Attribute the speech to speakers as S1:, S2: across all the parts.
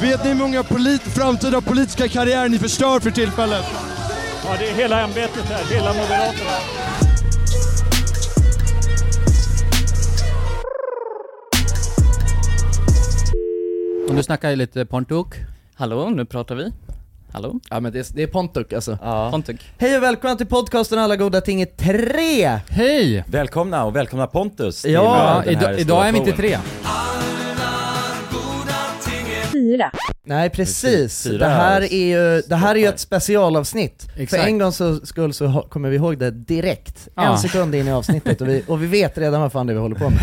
S1: Vet ni hur många polit- framtida politiska karriärer ni förstör för tillfället?
S2: Ja, det är hela ämbetet här, hela Moderaterna.
S3: Om du snackar lite Pontuk.
S4: Hallå, nu pratar vi. Hallå?
S3: Ja men det är, det är Pontuk alltså.
S4: Ja. Pontuk.
S5: Hej och välkomna till podcasten Alla goda ting är tre!
S3: Hej!
S6: Välkomna och välkomna Pontus till
S5: Ja,
S6: den
S3: idag,
S6: här stora
S3: idag är vi inte
S6: showen.
S3: tre.
S7: Fyra.
S5: Nej precis,
S6: Fyra
S5: det här är ju, det här är ju ett specialavsnitt.
S3: Exakt.
S5: För en gång så, skull så ho- kommer vi ihåg det direkt,
S3: Ja.
S5: en sekund in i avsnittet och vi, och vi vet redan vad fan det är vi håller på med.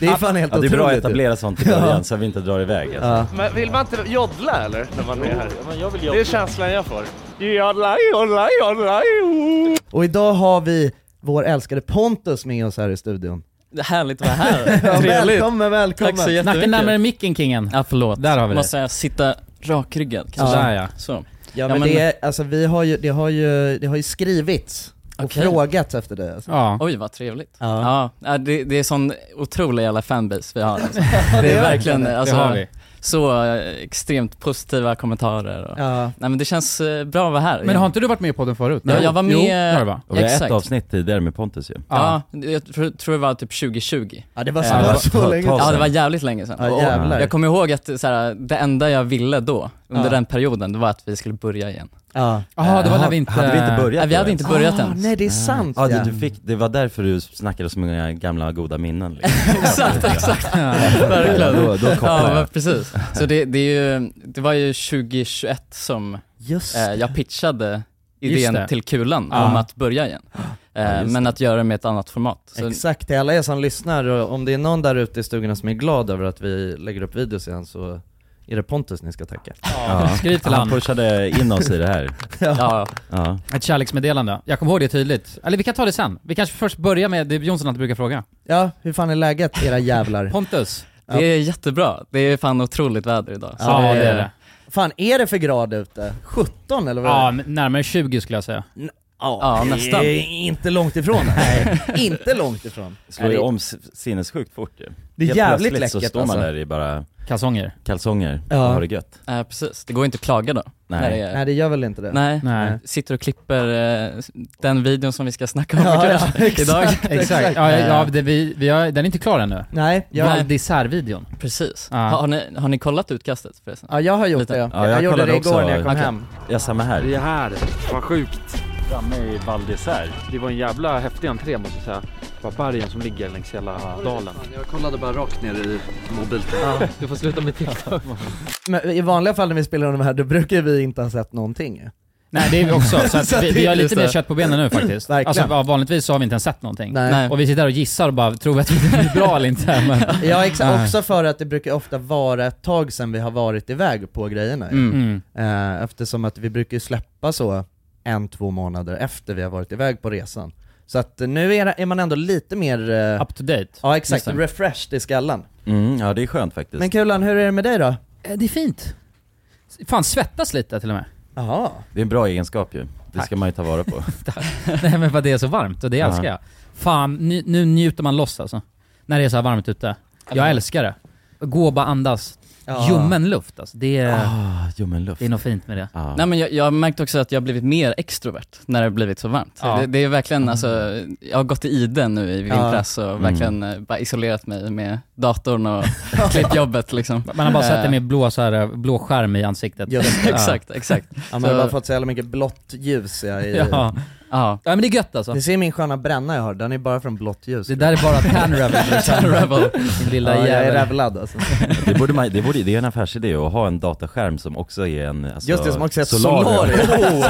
S5: Det är fan helt
S6: Ja, det är
S5: otroligt.
S6: bra att
S5: ju.
S6: etablera sånt i början så vi inte drar iväg. Alltså.
S5: Ja.
S8: Men vill man inte joddla eller? När man är här?
S2: Men jag vill
S8: Det är känslan jag får. Joddla, joddla, joddla, jo.
S5: Och idag har vi vår älskade Pontus med oss här i studion.
S4: Det är Härligt att vara här.
S5: Ja, välkommen, välkommen!
S4: Tack så
S3: Snacka
S4: jättemycket.
S3: närmare micken kingen. Ja förlåt. Där har vi det.
S4: Måste jag sitta rakryggad kanske?
S3: Sådär ja.
S4: Så.
S5: Ja men,
S4: men-
S5: det, är, alltså, vi har ju, det, har ju, det har ju skrivits och
S4: Okej.
S5: frågats efter dig alltså.
S3: Ja.
S4: Oj, vad trevligt.
S5: Ja.
S4: Ja, ja det, det är sån otrolig jävla fanbase vi har alltså. Det är verkligen,
S3: Det
S4: alltså,
S3: har vi.
S4: så eh, extremt positiva kommentarer och...
S5: Ja.
S4: Nej men det känns eh, bra att vara här.
S3: Men har inte du varit med i podden förut?
S4: Ja, jag var med-
S3: Jo, det har du va?
S6: Och vi har ett
S4: Exakt.
S6: avsnitt tidigare med Pontus ju.
S4: Ja, jag tror, tror det var typ 2020.
S5: ja, det var så,
S4: Ja,
S5: det var
S6: ta- Alltså, ta-
S5: så länge
S6: ta-
S5: sedan.
S4: Ja det var jävligt länge sedan.
S5: Ja
S4: Och
S5: jävlar.
S4: jag kommer ihåg att så här, det enda jag ville då, under
S5: Ja.
S4: den perioden, det var att vi skulle börja igen.
S5: Ja.
S3: Jaha, det var när vi inte...
S6: Hade vi inte börjat
S4: Nej, vi
S6: då
S4: hade
S6: ens?
S4: inte börjat
S5: ah,
S4: än.
S5: Nej det är sant
S6: Ja,
S5: ja.
S6: du, du fick, det var därför du snackade så många gamla goda minnen liksom.
S4: exakt, exakt.
S6: Ja,
S4: Verkligen.
S6: då, då
S4: Ja,
S6: kopplade
S4: men
S6: jag.
S4: precis. Så det, det, är ju, det var ju 2021 som
S5: Just
S4: eh, jag pitchade
S3: det.
S4: idén till Kulan
S3: Ja.
S4: om att börja igen. Eh,
S6: just
S4: men att göra det med ett annat format. Så,
S5: Exakt, till alla er som lyssnar, och om det är någon där ute i stugorna som är glad över att vi lägger upp videos igen så är det Pontus ni ska tacka.
S6: Ja.
S3: Skriv till
S6: Han
S3: han.
S6: pushade in oss i det här.
S4: ja,
S6: Ja.
S3: Ett kärleksmeddelande. Jag kommer ihåg det tydligt. Eller vi kan ta det sen. Vi kanske först börjar med det Jonsson alltid brukar fråga.
S5: Ja, hur fan är läget era jävlar?
S3: Pontus.
S4: det är jättebra. Det är fan otroligt väder idag. Så
S3: Ja, det är det.
S5: Fan, är det för grad ute? 17 eller vad
S3: Ja,
S5: är det?
S3: men närmare 20 skulle jag säga.
S4: Ja,
S5: det är
S4: nästan.
S5: Inte långt ifrån. Nej, inte långt ifrån.
S6: Slår ju om s- sinnessjukt fort ju.
S5: Det är
S6: Helt
S5: jävligt
S6: plötsligt så
S5: läckert,
S6: står man
S5: alltså.
S6: där i bara
S3: Kalsonger.
S6: kalsonger
S5: Ja.
S6: och har det gött.
S4: Eh, precis. Det går inte att klaga då.
S6: Nej.
S4: När det är-
S5: Nej det gör väl inte det?
S4: Nej.
S3: Nej.
S4: Sitter och klipper eh, den videon som vi ska snacka om
S5: Ja,
S4: ikväll-
S5: ja, exakt.
S4: idag.
S3: Exakt. Ja, ja det, vi, vi har, den är inte klar ännu.
S5: Nej, jag,
S3: Ja. Dessert-videon.
S4: Precis.
S3: Ja.
S4: Har, har, ni, har ni kollat utkastet förresten?
S5: ja, jag har gjort
S4: Lite.
S5: det.
S6: Ja, jag
S5: jag gjorde
S6: kollade
S5: det
S6: också.
S5: igår när jag kom
S6: Okej.
S5: hem.
S6: Ja, samma här.
S8: Vi är här. Vad sjukt.
S6: Framme i Val d'Isère.
S8: Det var en jävla häftig entré måste jag säga. Bara bergen som ligger längs hela dalen.
S9: Jag kollade bara rakt ner i mobiltelefonen.
S8: Du får sluta med TikTok.
S5: Men i vanliga fall när vi spelar de här, då brukar vi inte ha sett någonting.
S3: Nej det är vi också, så att
S5: Så att
S3: vi,
S5: det-
S3: vi har
S4: just
S3: lite mer
S4: det.
S3: kött på benen nu faktiskt.
S5: Verkligen.
S3: Alltså ja, vanligtvis så har vi inte ens sett någonting.
S5: Nej.
S4: Nej.
S3: Och vi sitter här och gissar och bara, tror vi att det blir bra eller inte? Men,
S5: Ja exakt,
S3: Nej.
S5: också för att det brukar ofta vara ett tag sedan vi har varit iväg på grejerna ju.
S4: Mm.
S3: mm.
S5: eh, Eftersom att vi brukar ju släppa så en, två månader efter vi har varit iväg på resan. Så att eh, nu är, är man ändå lite mer, eh,
S3: Up to date.
S5: ja exakt,
S3: just det.
S5: refreshed i skallen.
S6: Mm, ja det är skönt faktiskt.
S5: Men Kulan, hur är det med dig då?
S3: Eh, Det är fint. Fan svettas lite till och med.
S5: Jaha,
S6: Det är en bra egenskap ju. Det ska man ju ta vara på.
S3: Nej men för att det är så varmt och det
S6: Ja.
S3: älskar jag. Fan, nu, nu njuter man loss alltså. När det är så här varmt ute. Jag älskar det. Gå och bara andas.
S5: Ja.
S3: Ljummen luft alltså. Det är,
S6: Ah, ljummen luft.
S3: det är något fint med det.
S6: Ja.
S4: Nej men jag, jag har märkt också att jag har blivit mer extrovert när det har blivit så varmt.
S3: Ja.
S4: Det, det är verkligen alltså, jag har gått i iden nu i vintras och
S6: Mm.
S4: verkligen eh, bara isolerat mig med datorn och klippjobbet liksom.
S3: Man har bara sett det
S4: Eh,
S3: med blå, så här, blå skärm i ansiktet.
S5: just det.
S4: Exakt, exakt.
S5: Ja men jag har
S4: Så-
S5: bara fått så jävla mycket blått ljus jag i...
S3: Ja.
S4: Ja.
S3: ja men det är gött alltså.
S5: Ni ser min sköna bränna jag har, den är bara från blått ljus.
S3: Det där är bara tan liksom. rebel.
S4: Tan rebel.
S3: Din lilla
S5: ja, jag är
S3: jävel.
S5: rävlad alltså.
S6: Det, borde man, det, borde, det är en affärsidé att ha en dataskärm som också är en alltså,
S5: Just det, som också är ett
S6: solarium.
S5: solarium.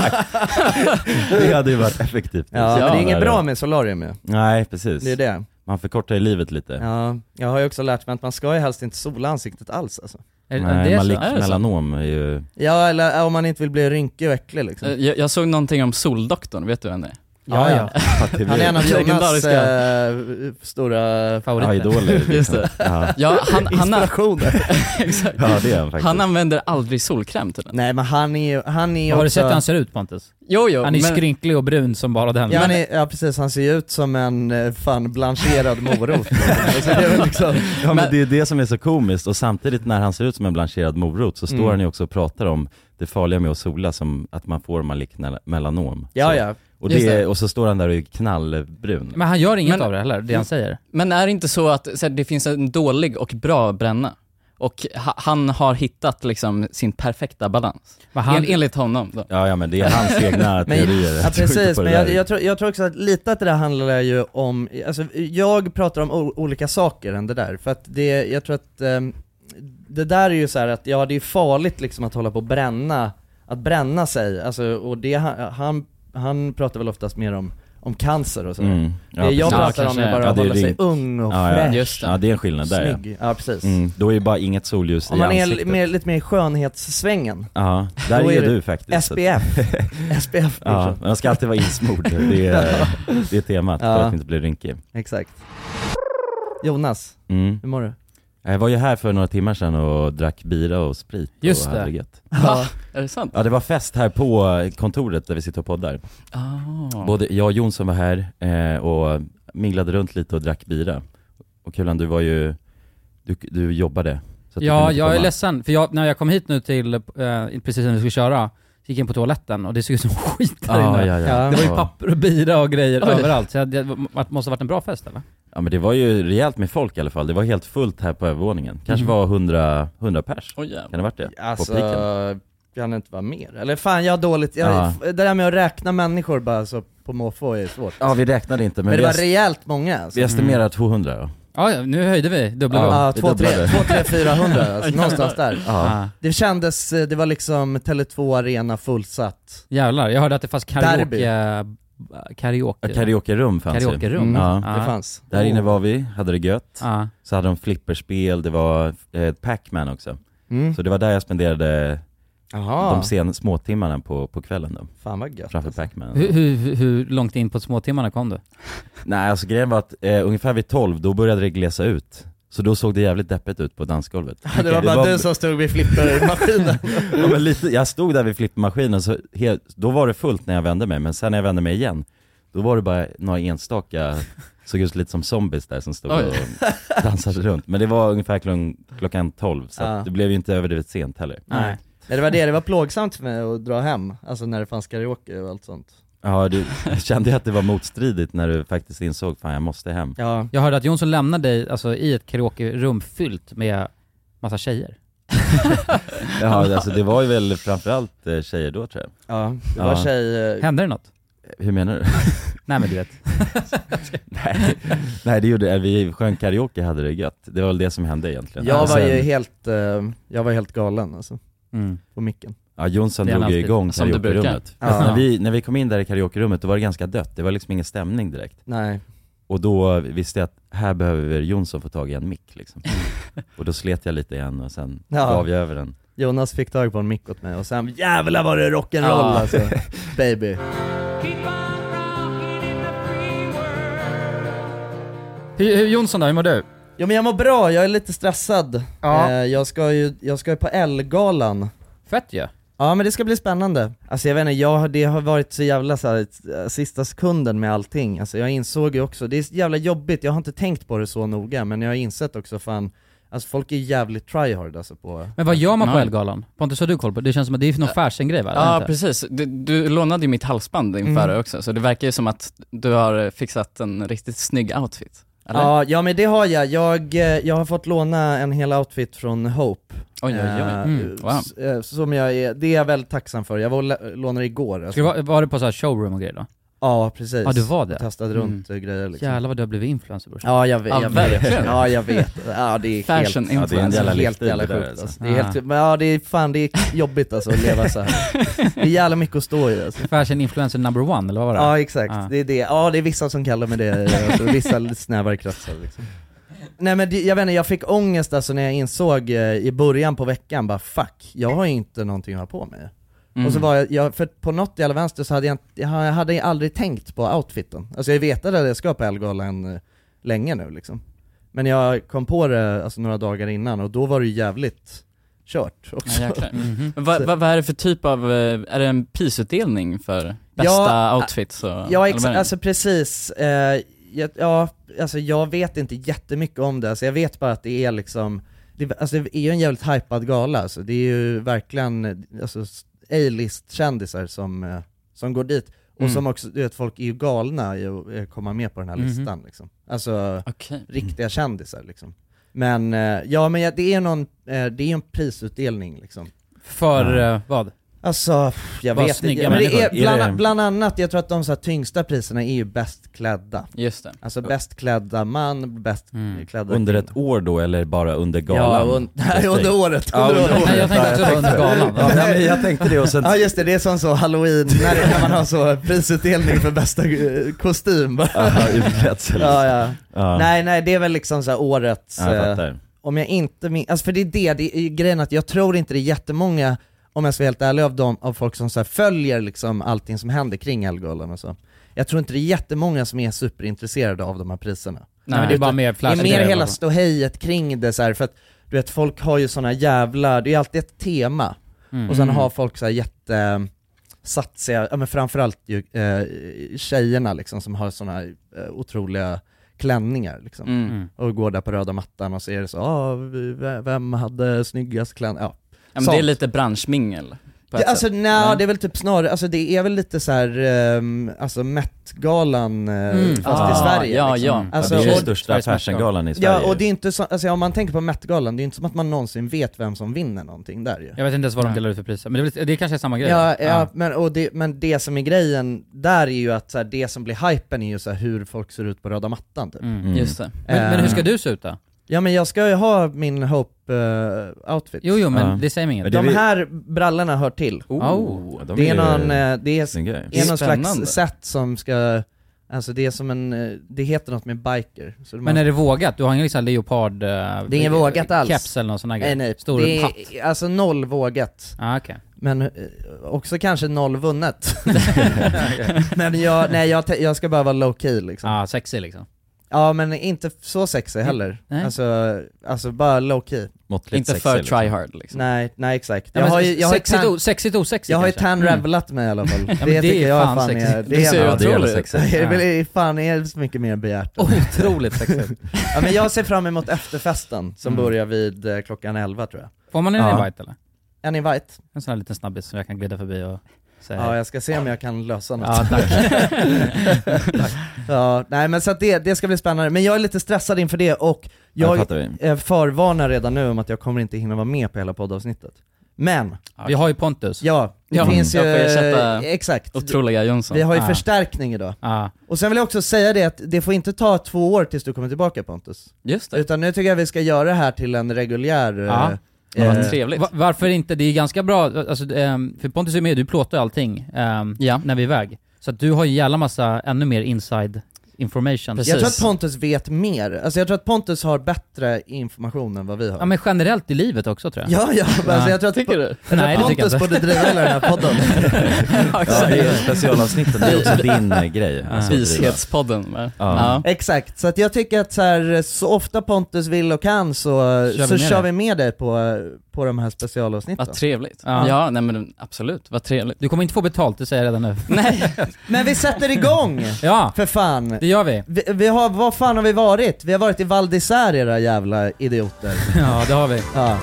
S6: det hade ju varit effektivt.
S5: Ja, men det är inget bra med solarium ju.
S6: Nej precis.
S5: Det är det.
S6: Man förkortar ju livet lite.
S5: Ja, jag har ju också lärt mig att man ska ju helst inte sola ansiktet alls alltså.
S3: Är det-
S6: Nej,
S3: det är så?
S6: malikt
S3: Är det så?
S6: melanom är ju...
S5: Ja eller äh, om man inte vill bli rynkig och äcklig liksom.
S6: Mm.
S4: Eh, Jag, jag såg någonting om Soldoktorn, vet du vem det är?
S5: ja, ja.
S6: fattig-
S5: Han är en av Jonas
S4: Legendariska.
S5: äh, stora
S6: Ja,
S5: favoriter.
S6: idoler.
S4: Just det.
S6: Ja,
S4: Ja, han, han, han,
S5: Inspirationer.
S4: exakt.
S6: ja det är han faktiskt.
S4: han använder aldrig solkräm tydligen.
S5: Nej men han är ju, han är ju
S3: Har du
S5: också...
S3: sett hur han ser ut Pontus?
S4: Jo, jo,
S3: Han är
S4: men-
S3: skrynklig och brun som bara den. Men-
S5: Ja, han är, ja precis, han ser ju ut som en eh, fan blancherad morot. Så det är väl liksom,
S6: Ja men,
S4: Men-
S6: det är det som är så komiskt och samtidigt när han ser ut som en blancherad morot så står
S5: Mm.
S6: han ju också och pratar om det farliga med att sola som att man får malign melanom.
S5: ja
S6: så,
S5: ja.
S6: Och,
S4: just
S6: det,
S4: det.
S6: och så står han där och är knallbrun.
S3: Men han gör inget
S4: Men-
S3: av det heller, det han säger.
S4: Men är det inte så att så här, det finns en dålig och bra bränna? Och ha, han har hittat liksom sin perfekta balans.
S3: Men han,
S4: En, enligt honom då.
S6: Ja, ja men det är hans egna
S5: Men-
S6: teorier.
S5: Ja,
S6: Jag tror inte
S5: precis,
S6: på det
S5: men jag,
S6: där.
S5: jag, tror, jag tror också att lite att det där handlar ju om, alltså jag pratar om o- olika saker än det där, för att det, jag tror att ehm, det där är ju så här att, ja det är farligt liksom att hålla på och bränna, att bränna sig, alltså och det, han, han, han pratar väl oftast mer om, om cancer och så.
S6: Mm.
S5: Det
S6: Ja,
S5: jag
S6: precis.
S4: Ja,
S5: pratar om
S4: kanske.
S5: är bara
S6: Ja,
S5: att
S6: det är
S5: hålla sig
S6: ring-
S5: ung och
S6: Ja, ja.
S5: fräsch,
S4: Just det.
S6: ja, det är en skillnad där ja.
S5: snygg. Ja precis.
S6: Mm. Då är ju bara inget solljus
S5: Om
S6: i
S5: man är
S6: ansiktet.
S5: mer, lite mer i skönhetssvängen,
S6: Ja, där
S5: Då
S6: är,
S5: är det
S6: du faktiskt.
S5: SPF, SPF
S6: Ja, men man ska alltid vara insmord. Det är, det är temat
S5: Ja.
S6: för att inte bli rynkig.
S5: exakt. Jonas,
S6: Mm.
S5: hur mår du?
S6: Jag var ju här för några timmar sedan och drack bira och sprit
S3: Just
S6: och
S3: det.
S6: hade gött.
S4: Va? Är det sant?
S6: Ja det var fest här på eh, kontoret där vi sitter och poddar.
S4: Ah.
S6: Både jag och Jonsson var här eh, och minglade runt lite och drack bira. Och Kulan du var ju, du, du jobbade. Så att du kunde
S3: ja,
S6: inte
S3: jag är
S6: komma.
S3: ledsen. För jag, när jag kom hit nu till, eh, precis när vi skulle köra, gick jag in på toaletten och det såg ut som skit där
S6: Ah, Ja,
S3: inne.
S6: ja, ja.
S5: Ja.
S3: Det var ju papper och bira och grejer
S4: Ja, men det-
S3: överallt. Så jag- det var- måste ha varit en bra fest eller?
S6: ja men det var ju rejält med folk i alla fall. Det var helt fullt här på övervåningen. Kanske
S3: Mm.
S6: var 100, 100 pers.
S4: Oj, jävlar.
S6: Kan det ha varit det? På
S5: Alltså,
S6: piken.
S5: kan det inte vara mer? Eller fan jag har dåligt, jag,
S6: Ja.
S5: det där med att räkna människor bara så på måfå är svårt
S6: Ja vi räknade inte men,
S5: Men det
S6: vi,
S5: var
S6: est-
S5: rejält många alltså.
S6: vi estimerar
S3: Mm.
S6: 200 då.
S3: Ja, ja, nu höjde vi. Dubbla
S6: Ja.
S3: ja.
S5: Ja,
S6: vi
S5: två, tre,
S6: dubblade.
S5: två, tre, 400 alltså, någonstans där.
S3: Ah,
S6: Ja.
S5: Det kändes, eh, det var liksom Tele2 Arena fullsatt.
S3: Jävlar, jag hörde att det fanns
S5: Derby.
S3: karaoke... eh, Karaoke...
S6: Karaokerum fanns ju.
S3: Karaokerum.
S5: Mm.
S6: Ja.
S5: Det fanns.
S6: Där inne var vi, hade det gött.
S3: Ja.
S6: Så hade de flipperspel, det var eh, Pac-Man också.
S5: Mm.
S6: Så det var där jag spenderade
S5: Jaha,
S6: de sen, småtimmarna på, på kvällen då,
S5: fan vad gött.
S6: framför
S5: Alltså.
S6: Pac-Man.
S3: Hur, hur, hur långt in på småtimmarna kom du?
S6: Nej alltså grejen var att eh, ungefär vid 12, då började det glesa ut. Så då såg det jävligt deppigt ut på dansgolvet.
S5: Det var bara du som stod vid flippermaskinen.
S6: ja, men lite, jag stod där vid flippermaskinen, så helt, då var det fullt när jag vände mig, men sen när jag vände mig igen, då var det bara några enstaka, såg ut lite som zombies där som stod
S4: Oj.
S6: och dansade runt. Men det var ungefär klockan, klockan 12, så
S5: Ja.
S6: att det blev ju inte överdrivet sent heller.
S5: Nej. Nej det var det, det var plågsamt för mig att dra hem, alltså när det fanns karaoke och allt sånt.
S6: Ja, du kände ju att det var motstridigt när du faktiskt insåg, fan jag måste hem.
S5: Ja,
S3: Jag hörde att Jonsson lämnade dig alltså, i ett karaokerum fyllt med massa tjejer.
S6: Ja, alltså det var ju väl framförallt eh, tjejer då tror jag.
S5: ja. det var
S6: Ja.
S5: tjej, eh,
S3: Hände det något?
S6: Hur menar du?
S3: Nej men du vet.
S6: Nej, nej det gjorde, vi sjöng karaoke hade det gött. Det var väl det som hände egentligen.
S5: jag
S6: Och
S5: var ju
S6: sen-
S5: helt, eh, jag var helt galen alltså,
S3: Mm.
S5: på micken.
S6: Ja, Jonsson
S3: Det är
S6: drog ju
S3: alltid-
S6: igång
S4: som du brukar.
S6: karaokerummet.
S5: Ja.
S6: Fast När, Alltså, vi, när vi kom in där i karaokerummet då var det ganska dött, det var liksom ingen stämning direkt.
S5: Nej,
S6: Och då visste jag att här behöver Jonsson få tag i en mick liksom. Och då slet jag lite igen och sen
S5: Ja.
S6: gav jag över den.
S5: Jonas fick tag på en mick åt mig och sen jävlar var det rock'n'roll alltså, baby.
S3: Hur, hur, Jonsson då, hur mår du?
S5: Jo men jag mår bra, jag är lite stressad.
S3: Ja.
S5: Eh, jag ska ju, jag ska ju på Ellegalan.
S3: Fett ju.
S5: Ja men det ska bli spännande. Alltså jag vet inte, jag, har- det har varit så jävla så här, eh, sista sekunden med allting. Alltså jag insåg ju också, det är så jävla jobbigt, jag har inte tänkt på det så noga men jag har insett också fan, alltså folk är jävligt tryhard alltså på
S3: Men vad gör man på
S4: Nej.
S3: Elgalan? Pontus, har du koll på det? Det känns som att det är någon
S5: Äh.
S3: Fersen-grej va?
S4: Ja,
S3: Inte?
S4: precis. Du, du lånade ju mitt halsband
S5: Mm.
S4: inför det också, så det verkar ju som att du har fixat en riktigt snygg outfit. Eller?
S5: Ja, ja men det har jag. jag. eh, Jag har fått låna en hel outfit från Hope.
S4: Oj, oj, oj.
S5: eh,
S3: Mm,
S4: wow.
S5: s- eh, Som jag är, det är jag väldigt tacksam för. Jag var och lä- lånade igår.
S3: Ska
S5: Alltså.
S3: du, vara- var du på så här showroom och grejer då?
S5: Ja precis.
S3: Ja, du var
S5: Jag
S3: det.
S5: Tastade runt eh, grejer liksom.
S3: Jävlar vad du har blivit influencer brorsan.
S5: Ja jag vet,
S4: Ja,
S5: jag vet.
S4: verkligen.
S5: Ja jag vet. Ja det är helt,
S4: Fashion
S6: Ja, det är en
S4: influencer.
S6: jävla
S5: helt
S6: livsstil
S5: jävla
S6: det där,
S5: sjukt
S6: alltså.
S5: alltså. Det är helt, men ja det är fan det är jobbigt alltså att leva så här. Det är jävla mycket att stå i alltså.
S3: Fashion-influencer number one, eller vad var det?
S5: Ja exakt,
S3: Ja.
S5: det är det. Ja det är vissa som kallar mig det, alltså, vissa lite snävare kretsar liksom. Nej men det, jag vet inte, jag fick ångest alltså när jag insåg eh, i början på veckan bara fuck, jag har ju inte någonting att ha på mig.
S4: mm.
S5: Och så var jag, jag, för på något jävla vänster så hade jag, inte- jag hade ju aldrig tänkt på outfiten. Alltså jag vetade att jag ska på Ellegalan eh, länge nu liksom. Men jag kom på det alltså, några dagar innan och då var det ju jävligt kört också.
S4: Ja, jäklar.
S5: Mm-hmm.
S3: Mhm.
S4: Men vad, vad, vad är det för typ av, eh, är det en prisutdelning för bästa
S5: Ja, eh,
S4: outfits och
S5: Ja
S4: eller vad är
S5: exakt,
S4: det?
S5: alltså precis. Eh, jag- ja, alltså jag vet inte jättemycket om det, alltså jag vet bara att det är liksom, det, alltså det är ju en jävligt hypad gala alltså. Det är ju verkligen eh, alltså, A-list kändisar som, eh, som går dit. Och
S4: Mm.
S5: som också, du vet folk är ju galna i att eh, komma med på den här
S3: Mhm.
S5: listan liksom. Alltså
S4: Okej.
S5: riktiga kändisar liksom. Men eh, ja, men ja, det är någon, eh, det är en prisutdelning liksom.
S3: För eh, vad?
S5: Alltså, pff, jag
S3: Vad
S5: vet inte.
S3: snygga
S5: Ja, men det är,
S3: människor.
S5: bland,
S6: Är det-
S5: bland annat, jag tror att de så här, tyngsta priserna är ju bäst klädda.
S4: Just det.
S5: Alltså bäst klädda man, bäst
S3: Mm.
S5: klädda
S6: Under
S5: kvinna.
S6: ett år då, eller bara under
S5: Ja,
S6: galan?
S5: un- nej, under året.
S6: Ja,
S5: Under
S6: under
S5: året.
S3: Nej, jag tänkte också under galan.
S6: Ja, nej, men jag tänkte det och sen...
S5: Ja just det, det är som så halloween, när det- när man har så prisutdelning för bästa eh, kostym bara.
S6: Aha, utklädsel.
S5: Ja, ja.
S6: Ja,
S5: Nej nej, det är väl liksom så här årets...
S6: ja, jag
S5: eh,
S6: fattar.
S5: om jag inte min- alltså för det är det, det är ju grejen att jag tror inte det är jättemånga, om jag ska vara helt ärlig, av, dem, av folk som så här följer liksom allting som händer kring Ellegalan och så. Jag tror inte det är jättemånga som är superintresserade av de här priserna.
S3: Nej men det är bara mer
S5: Det är
S3: flash
S5: mer hela ståhejet kring det så här, för att du vet folk har ju såna jävla, det är alltid ett tema, och sen har folk så här jätte satsiga, ja men framförallt ju eh, tjejerna liksom som har såna här, eh, otroliga klänningar liksom
S4: Mm.
S3: Mm.
S5: och går där på röda mattan och så är det så, ah, v- v- vem hade snyggast klänning? Ja.
S4: Ja, men det är
S5: Sånt.
S4: lite branschmingel. På
S5: Det,
S4: ett
S5: alltså
S4: sätt.
S5: nej,
S4: Nej.
S5: det är väl typ snarare, alltså det är väl lite så här, ehm, alltså Met-galan eh,
S3: Mm.
S5: fast i Sverige.
S4: Ah, Ja,
S5: liksom.
S4: ja.
S5: Alltså,
S6: ja, det är
S5: och-
S6: den största
S3: Sveriges matchdag.
S6: fashiongalan i Sverige.
S5: Ja och det är inte så, alltså om man tänker på Met-galan, det är inte som att man någonsin vet vem som vinner någonting där ju.
S3: Jag vet inte ens vad de delar ut för priser, men det, är väl- det kanske är samma grej?
S5: Ja, ja,
S3: Ja.
S5: Men, och det, men det som är grejen där är ju att så här, det som blir hypen är ju så här, hur folk ser ut på röda mattan typ.
S3: Mm.
S6: Mm.
S4: Just det.
S3: Men, men hur ska
S5: Eh,
S3: du se ut då?
S5: Ja men jag ska ju ha min Hope-outfit.
S3: Jo, jo men
S6: Ja.
S3: det säger mig inget.
S6: Men det
S5: De
S6: vi-
S5: här brallorna hör till.
S6: Ja,
S4: Oh.
S6: de
S5: Det är
S6: ju
S5: någon, eh, det är,
S6: snygga ju.
S5: det är någon
S4: Spännande.
S5: slags sätt som ska, alltså det är som en, eh, det heter något med biker. Så
S3: Men är det vågat? Du har ingen liksom leopard... eh,
S5: Det är inget vågat alls.
S3: Keps eller någon sån här
S5: nej,
S3: grej?
S5: nej,
S3: Stor
S5: det
S3: hatt?
S5: är, alltså noll vågat.
S3: Ah, okej.
S5: Men eh, också kanske noll vunnet. men jag, nej jag, te- jag ska bara vara low key liksom.
S3: Ah, sexy liksom.
S5: Ja men inte så sexig heller.
S3: Nej.
S5: Alltså, alltså bara low key.
S6: Måttligt
S4: Inte
S6: sexig,
S4: för
S6: liksom.
S4: tryhard liksom.
S5: Nej, nej exakt.
S3: Ja,
S5: Jag
S3: men
S5: har ju, jag har ju
S3: sexigt,
S5: tan,
S3: o- sexigt osexigt
S5: jag har ju
S3: kanske. Mm.
S5: tan revelat mig i alla fall.
S3: men
S5: det,
S3: det är
S5: tycker jag
S3: fan
S5: fan är,
S3: sexigt.
S5: det
S4: ser
S5: är
S4: ju
S5: något.
S6: Ja, det är
S4: Otroligt.
S6: jävla sexigt.
S5: Det är väl fan är så mycket mer begärt.
S3: Otroligt sexigt.
S5: Ja, men jag ser fram emot efterfesten som
S3: Mm.
S5: börjar vid eh, klockan 11 tror jag.
S3: Får man en
S5: Ja.
S3: invite eller?
S5: En invite.
S3: En sån här liten snabbis som jag kan glida förbi och säga
S5: Ja,
S3: hej.
S5: jag ska se om jag kan lösa något.
S3: Eh. Ja, tack.
S5: Ja, nej men så att det, det ska bli spännande. Men jag är lite stressad inför det och
S6: Ja, det
S5: jag
S6: fattar vi.
S5: eh, förvarnar redan nu om att jag kommer inte hinna vara med på hela poddavsnittet. Men,
S3: Vi har ju Pontus.
S5: ja, det
S4: Ja,
S5: finns ju...
S4: jag får ersätta-
S5: Exakt.
S4: Otroliga Jonsson.
S5: Vi har ju
S3: Ah.
S5: förstärkning idag.
S3: Ja.
S5: Och sen vill jag också säga det att det får inte ta två år tills du kommer tillbaka Pontus.
S4: Just det.
S5: Utan nu tycker jag vi ska göra det här till en reguljär... eh,
S3: Ja.
S4: Vad
S5: eh,
S4: trevligt.
S3: Va- varför inte? Det är ganska bra, alltså, ehm, för Pontus är med, du plåtar ju allting ehm,
S4: Ja.
S3: när vi är iväg. Så att du har ju jävla massa ännu mer inside information.
S4: Precis.
S5: Jag tror att Pontus vet mer, alltså jag tror att Pontus har bättre information än vad vi har.
S3: Ja men generellt i livet också tror jag.
S5: ja, ja, alltså
S3: Ja.
S5: jag tror att,
S4: Tycker du?
S5: jag tror
S3: Nej,
S5: att
S3: det tycker jag
S5: Pontus borde driva hela den här podden.
S4: Ja,
S6: Ja,
S4: exakt.
S6: det är ju specialavsnitten, det är också din eh, grej. Alltså, att driva.
S4: Vishetspodden. va?
S6: Ja.
S5: Exakt, så att jag tycker att så, här, så ofta Pontus vill och kan så
S3: vi
S5: kör, så
S3: med
S5: vi, kör
S3: dig.
S5: vi med dig på, på de här specialavsnitten.
S4: Vad trevligt.
S3: Ja.
S4: Ja. nej men absolut, vad trevligt.
S3: Du kommer inte få betalt, det säger jag redan nu.
S4: Nej,
S5: Men vi sätter igång!
S3: Ja,
S5: För fan!
S3: det gör vi.
S5: Vi, vi har, vad fan har vi varit? Vi har varit i Val d'Isère era jävla idioter.
S3: Ja, det har vi.
S5: Ja.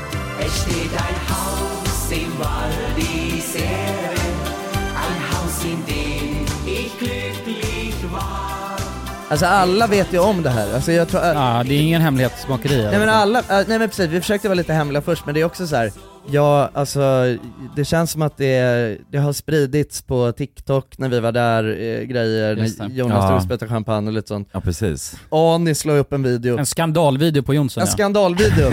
S5: Alltså alla vet ju om det här, alltså jag tror...
S3: Ja, det är ingen hemlighetsmakeri. alltså.
S5: Nej men alla, äh, nej men precis, vi försökte vara lite hemliga först men det är också så här. ja alltså det känns som att det, det har spridits på TikTok när vi var där, eh, grejer,
S4: Just det.
S5: Jonas
S6: Ja.
S5: drog spett och champagne och lite sånt.
S6: ja, precis.
S5: Ani la upp en video,
S3: En skandalvideo på Jonsson
S5: en
S3: ja.
S5: skandalvideo.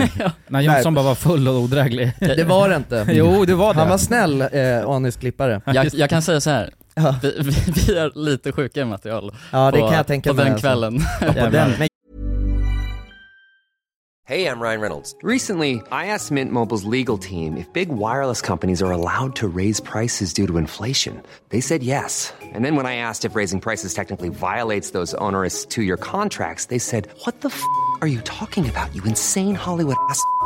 S3: När Jonsson bara var full och odräglig.
S5: det var det inte.
S3: jo, det var det.
S5: Han var snäll, eh, Anis klippare.
S4: jag, jag kan säga så här.
S5: Ja.
S4: Vi, vi, vi har lite sjuka material
S5: Ja det
S4: på,
S5: kan jag tänka
S4: på
S5: mig.
S4: den
S5: alltså.
S4: kvällen.
S5: Jävlar. Men
S7: Hey, I'm Ryan Reynolds. Recently, I asked Mint Mobile's legal team if big wireless companies are allowed to raise prices due to inflation. They said yes. And then when I asked if raising prices technically violates those onerous two year contracts, they said, What the f are you talking about, you insane Hollywood ass? f- a-"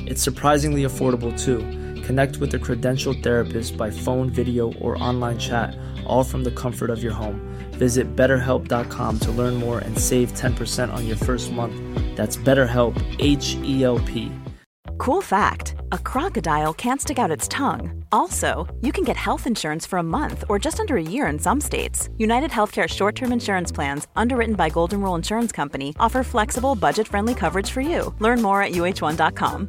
S10: It's surprisingly affordable too. Connect with a credentialed therapist by phone, video, or online chat, all from the comfort of your home. Visit betterhelp.com to learn more and save 10% on your first month. That's BetterHelp, H E L P.
S11: Cool fact a crocodile can't stick out its tongue. Also, you can get health insurance for a month or just under a year in some states. United Healthcare short term insurance plans, underwritten by Golden Rule Insurance Company, offer flexible, budget friendly coverage for you. Learn more at uh1.com.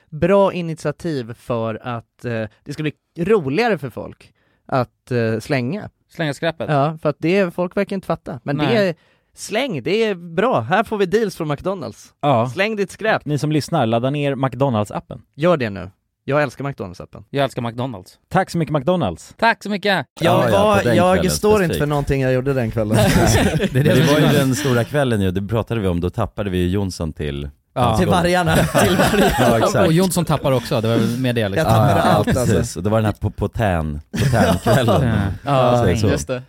S12: bra initiativ för att eh, det ska bli roligare för folk att eh, slänga.
S3: Slänga skräpet?
S12: Ja, för att det, folk verkar inte fatta. Men det
S13: Nej.
S12: är, släng, det är bra. Här får vi deals från McDonalds.
S13: Ja.
S12: Släng ditt skräp.
S13: Ni som lyssnar, ladda ner McDonalds-appen.
S12: Gör det nu. Jag älskar McDonalds-appen.
S3: Jag älskar McDonalds.
S13: Tack så mycket McDonalds.
S3: Tack så mycket!
S5: Jag, var, jag står inte för
S6: specifikt.
S5: någonting jag gjorde den kvällen.
S6: det,
S5: är det som
S6: var
S5: är
S6: ju
S5: så-
S6: den stora kvällen ju, det pratade vi om, då tappade vi ju Jonsson till
S3: Ja. Till vargarna.
S5: Till vargarna.
S6: Ja, exakt.
S3: Och Jonsson tappar också, det var väl med det liksom.
S6: Ja, ja, precis. Och det var den här po- potän, potänkvällen.
S4: Ja,
S6: Så- så.
S4: just det.
S5: Ja,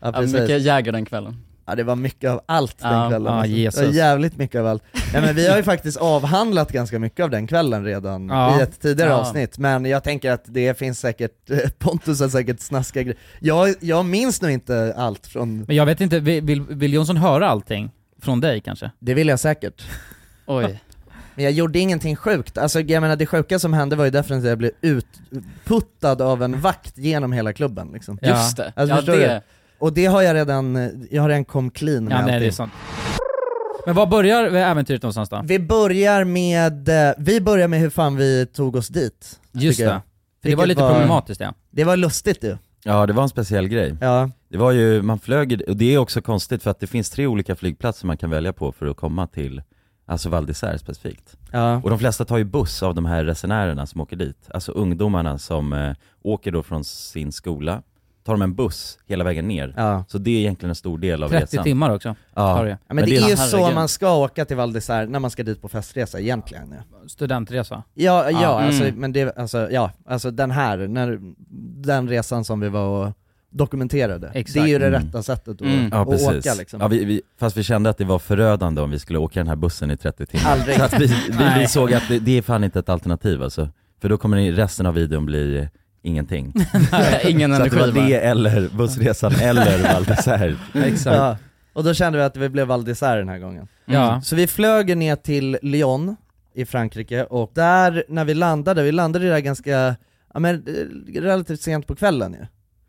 S4: Ja,
S5: precis.
S4: mycket Jäger den kvällen.
S5: Ja det var mycket av allt den
S4: Ja,
S5: kvällen.
S4: ja,
S5: alltså.
S4: Jesus.
S5: Det var jävligt mycket av allt. Nej, men vi har ju faktiskt avhandlat ganska mycket av den kvällen redan
S12: Ja.
S5: i ett tidigare
S12: Ja.
S5: avsnitt, men jag tänker att det finns säkert, Pontus har säkert snaskiga grejer. Jag, jag minns nog inte allt från...
S3: Men jag vet inte, vill, vill- vill Jonsson höra allting? Från dig kanske?
S5: Det vill jag säkert.
S3: Oj.
S5: Men jag gjorde ingenting sjukt, alltså jag menar det sjuka som hände var ju definitivt att jag blev utputtad av en vakt genom hela klubben liksom.
S4: Ja. Just det.
S5: Alltså,
S4: Ja,
S5: förstår
S4: det-
S6: Mm.
S5: Du? Och det har jag redan, jag har redan kom clean med
S3: Ja, nej,
S5: allting.
S3: det är sant. Men var börjar äventyret någonstans då?
S5: Vi börjar med, eh, vi börjar med hur fan vi tog oss dit.
S3: Just
S5: tycker
S3: det.
S5: jag.
S3: För det var
S5: Vilket
S3: lite problematiskt ja.
S5: Det var lustigt ju.
S6: Ja, det var en speciell grej.
S5: Ja.
S6: Det var ju, man flög, ju- och det är också konstigt för att det finns tre olika flygplatser man kan välja på för att komma till, alltså Val d'Isère specifikt.
S5: Ja.
S6: Och de flesta tar ju buss av de här resenärerna som åker dit, alltså ungdomarna som eh, åker då från sin skola, tar de en buss hela vägen ner.
S5: Ja.
S6: Så det är egentligen en stor del av
S3: 30
S6: resan.
S3: timmar också.
S6: Ja.
S3: Tar det.
S5: Ja, men, det, är ju så man ska åka till Val d'Isère när man ska dit på festresa egentligen. Ja,
S3: Studentresa.
S5: ja, ja
S3: Mm.
S5: alltså, men det, alltså, ja, alltså den här, när, den resan som vi var och dokumenterade. Det är ju det
S6: Mm.
S5: rätta sättet att,
S6: Ja,
S5: att
S6: precis.
S5: åka liksom.
S6: ja, vi, vi, Fast vi kände att det var förödande om vi skulle åka den här bussen i 30 timmar.
S5: Aldrig.
S6: Så att vi, vi,
S5: Nej.
S6: vi såg att det, det är fan inte ett alternativ alltså. För då kommer resten av videon bli ingenting.
S4: Ingen
S6: Så att det
S4: energi,
S6: var
S4: va?
S6: det eller bussresan eller Val d'Isère.
S5: Ja. Och då kände vi att vi blev Val d'Isère den här gången.
S6: Mm.
S3: Ja.
S5: Mm. Så vi flög ju ner till Lyon i Frankrike och där när vi landade, vi landade ju där ganska, ja men eh, relativt sent på kvällen ju.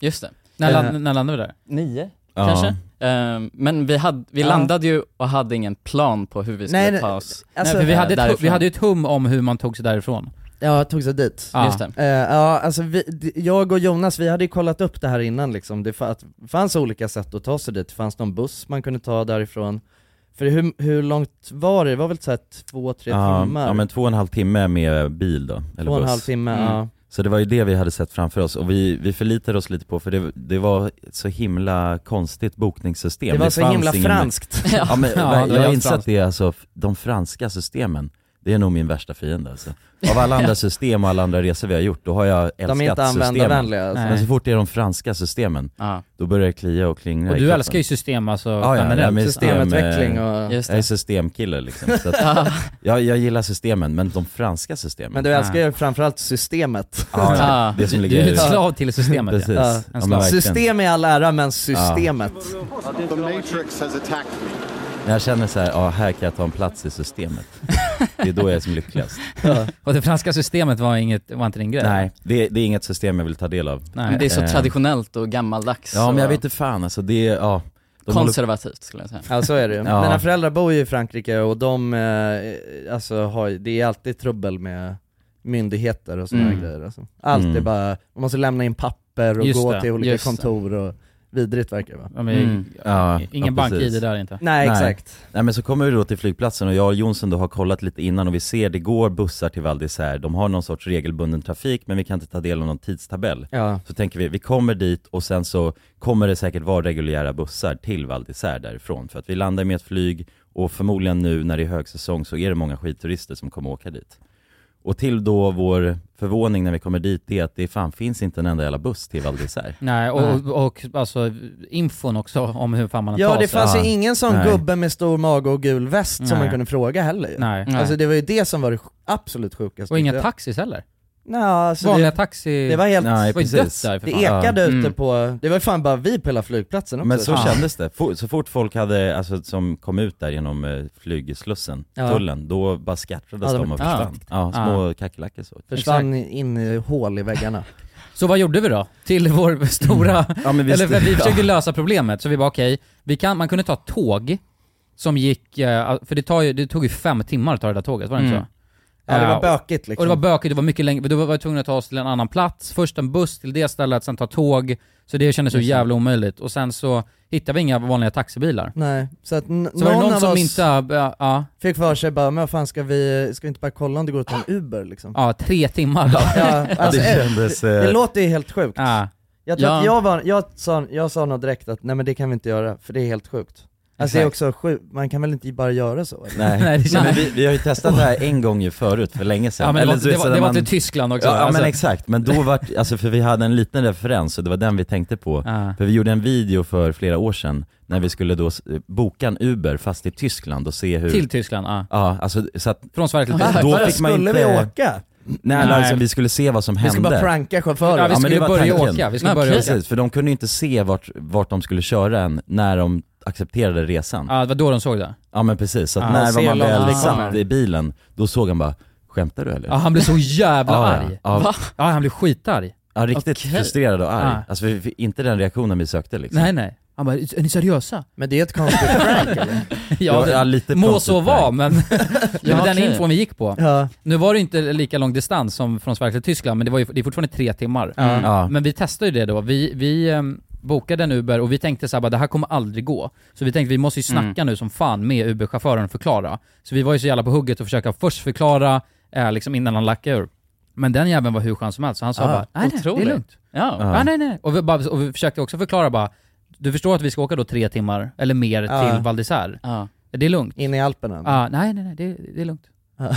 S4: Just det.
S3: När,
S4: Eh,
S3: land, när landade vi där?
S4: Nio,
S5: Ja.
S4: kanske? Ehm, men vi, hade, vi
S5: Ja.
S4: landade ju och hade ingen plan på hur vi skulle
S5: Nej, nej,
S4: ta oss
S5: alltså-
S3: Nej, för vi,
S4: eh,
S3: hade ett,
S4: därifrån.
S3: vi hade ju ett hum om hur man tog sig därifrån.
S5: Ja, tog sig dit.
S3: Ja.
S4: Just det.
S5: Eh, ja, alltså vi, d- jag och Jonas, vi hade ju kollat upp det här innan liksom. Det fa- att- fanns olika sätt att ta sig dit, det fanns någon buss man kunde ta därifrån. För hur, hur långt var det? Det var väl såhär två, tre
S6: Ja,
S5: timmar?
S6: ja men två och en halv timme med bil då, eller
S5: Två och en
S6: buss. Mm.
S5: halv timme, ja.
S6: Så det var ju det vi hade sett framför oss och vi, vi förlitade oss lite på för det, det var ett så himla konstigt bokningssystem.
S5: Det var så
S6: fanns
S5: himla
S6: ingen-
S5: franskt.
S6: Ja, men,
S5: Ja, det var
S6: jag har
S5: helt
S6: insett
S5: franskt.
S6: det alltså, de franska systemen, det är nog min värsta fiende alltså. Av alla andra system och alla andra resor vi har gjort, då har jag
S5: är
S6: älskat
S5: inte
S6: systemen.
S5: användarvänliga, alltså.
S6: Men så
S5: Nej.
S6: fort det är de franska systemen, då börjar det klia och klingra
S3: Och
S6: i
S3: du
S6: kroppen.
S3: älskar ju system alltså
S6: Ja, ja, ja,
S3: generellt.
S6: men system,
S5: Systemutveckling
S6: eh,
S5: och- Just
S6: Jag är
S5: det.
S6: systemkille liksom. Så att, jag, jag gillar systemen, men de franska systemen.
S5: Men du älskar ju framförallt systemet.
S6: Ja, ja, det som ligger i- Precis.
S5: Ja.
S6: Ja, men verkligen.
S5: System i all ära, men systemet.
S14: The Matrix has attacked me.
S6: När jag känner så här, ja här kan jag ta en plats i systemet. Det är då jag är som lyckligast.
S3: Och det franska systemet var, inget, var inte din grej?
S6: Nej, det, det är inget system jag vill ta del av.
S4: Men det är så
S6: Eh,
S4: traditionellt och gammaldags.
S6: Ja men jag
S4: och-
S6: vet inte fan alltså, det är, ja. de håller-
S4: Konservativt skulle jag säga.
S5: Ja så är det ju.
S6: Ja.
S5: Mina föräldrar bor ju i Frankrike och de, eh, alltså har, ju- det är alltid trubbel med myndigheter och sådana
S4: Mm.
S5: här grejer alltså. Allt är
S4: Mm.
S5: bara, man måste lämna in papper och
S3: Just
S5: gå
S3: det,
S5: till olika
S3: just det.
S5: kontor och vidrigt verkar det vara.
S3: Ja, men
S6: Ja,
S3: Ingen
S6: Mm. ja,
S3: bank-ID
S6: precis.
S3: där inte.
S5: Nej, exakt.
S6: Nej men så kommer vi då till flygplatsen och jag och Jonsson då har kollat lite innan och vi ser det går bussar till Val d'Isère. De har någon sorts regelbunden trafik men vi kan inte ta del av någon tidstabell.
S5: Ja.
S6: Så tänker vi, vi kommer dit och sen så kommer det säkert vara reguljära bussar till Val d'Isère därifrån. För att vi landar med ett flyg och förmodligen nu när det är högsäsong så är det många skidturister som kommer åka dit. Och till då vår förvåning när vi kommer dit det är att det fan finns inte en enda jävla buss till Val d'Isère.
S3: Nej, och, och, och alltså infon också om hur fan man
S5: Ja
S3: tar
S5: det fanns ju
S3: sig.
S5: ingen sån
S3: Nej.
S5: gubbe med stor mage och gul väst som
S3: Nej.
S5: man kunde fråga heller ju.
S3: Nej.
S6: Alltså,
S5: Alltså det var ju det som var det sj- absolut sjukaste.
S3: Och inga
S5: tyckte jag.
S3: taxis heller.
S5: Nej, alltså
S3: Vanliga
S5: det,
S3: taxi...
S5: det var helt...
S3: det var ju dött där, för
S5: det
S3: fan.
S5: ekade
S3: Ja.
S5: ute
S3: Mm.
S5: på... Det var fan bara vi på hela flygplatsen också.
S6: Men så kändes det. Fo- Så fort folk hade, alltså, som kom ut där genom eh, flygslussen,
S5: Ja.
S6: tullen, då bara skärrades
S5: Ja, de-
S6: de och
S5: Ja.
S6: försvann. Ja, små kackerlackor så.
S5: Försvann in i hål i väggarna.
S3: Så vad gjorde vi då? Till vår stora...
S6: vi-
S3: eller vi försökte
S6: Mm. ja.
S3: lösa problemet, så vi bara okej, vi kan, man kunde ta tåg som gick, eh, för det, tar ju, det tog ju fem timmar att ta det där tåget, var det inte
S5: Mm.
S3: så?
S5: Ja, det var
S3: Eh, och-
S5: bökigt, liksom.
S3: Och det var bökigt, det var mycket längre, då var vi tvungna att ta oss till en annan plats, först en buss till det stället, sen ta tåg, så det kändes så
S5: Just det.
S3: jävla omöjligt. Och sen så hittade vi inga vanliga taxibilar.
S5: Nej, så att n-
S3: Så var det
S5: någon
S3: någon
S5: av
S3: som
S5: oss
S3: inte, ja, ja,
S5: fick för sig bara, men vad fan ska vi, ska vi inte bara kolla om det går att ta en Uber liksom?
S3: ja, tre timmar då.
S5: Ja, alltså, eh, det, det låter ju helt sjukt.
S3: Ja.
S5: Jag, tror
S3: Ja.
S5: att jag, var, jag, sa, jag sa nog direkt att nej men det kan vi inte göra, för det är helt sjukt. Alltså det är
S6: Exakt.
S5: också sjukt, man kan väl inte bara göra så? eller?
S6: Nej, men vi, vi har ju testat det här en gång ju förut, för länge sedan.
S3: Ja, men det var-
S6: så-
S3: det var-
S6: så när
S3: det var till Tyskland också,
S6: Ja, ja
S3: alltså.
S6: men exakt, men då var alltså för vi hade en liten referens och det var den vi tänkte på.
S3: Ja.
S6: För vi gjorde en video för flera år sedan, när vi skulle då s- eh, boka en Uber fast i Tyskland och se hur...
S3: Till Tyskland, ja.
S6: Ja, alltså så att...
S3: Från Sverige till
S6: Då
S3: Tyskland.
S6: fick man
S5: Skulle
S6: inte-
S5: vi åka?
S6: Nej,
S3: Nej.
S6: Alltså, vi skulle se vad som
S5: Vi
S6: hände.
S5: skulle bara pranka chauffören.
S3: Ja, vi skulle
S6: men det var
S3: börja
S6: tanken.
S3: åka, vi skulle börja åka.
S6: Precis, för de kunde ju inte se vart, vart de skulle köra än när de accepterade resan.
S3: Ja, det var då de såg det.
S6: Ja men precis, så att
S3: Ja,
S6: när
S3: se
S6: var man
S3: långt
S6: väl
S3: det
S6: satt
S3: kommer.
S6: i bilen, då såg han bara, skämtar du eller?
S3: Ja, han blev så jävla
S6: Ja,
S3: arg.
S6: ja.
S3: Va? Ja, han blev skitarg.
S6: Ja riktigt
S3: Okej.
S6: frustrerad och arg.
S3: Ja.
S6: Alltså vi fick inte den reaktionen vi sökte liksom.
S3: Nej, nej. Han bara, är ni seriösa?
S5: Men det är ett konstigt prank eller?
S3: Ja, det,
S6: Ja, lite
S3: må
S6: konstigt
S3: så
S6: prank.
S3: vara men, men den
S6: typ, okej.
S3: infon vi gick på.
S5: Ja.
S3: Nu var det ju inte lika lång distans som från Sverige till Tyskland men det, var ju, det är fortfarande tre timmar. Mm.
S5: Ja. Ja.
S3: Men vi testade ju det då. Vi, vi ehm, bokade en Uber och vi tänkte såhär bara det här kommer aldrig gå. Så vi tänkte vi måste ju snacka nu som fan med Uber-chauffören och förklara. Så vi var ju så jävla på hugget och försöka först förklara eh, liksom innan han lackade ur. Men den jäveln var hur skön som helst så han sa
S15: Ja.
S3: bara nej, nej, det är
S15: Otroligt.
S3: lugnt. Ja,
S15: Ja.
S3: ja. nej nej. Och vi, bara, och vi försökte också förklara bara du förstår att vi ska åka då tre timmar, eller mer,
S5: Ja.
S3: till Val d'Isère? Det är lugnt.
S5: In i Alperna?
S3: Ja, nej nej nej, det, det är lugnt.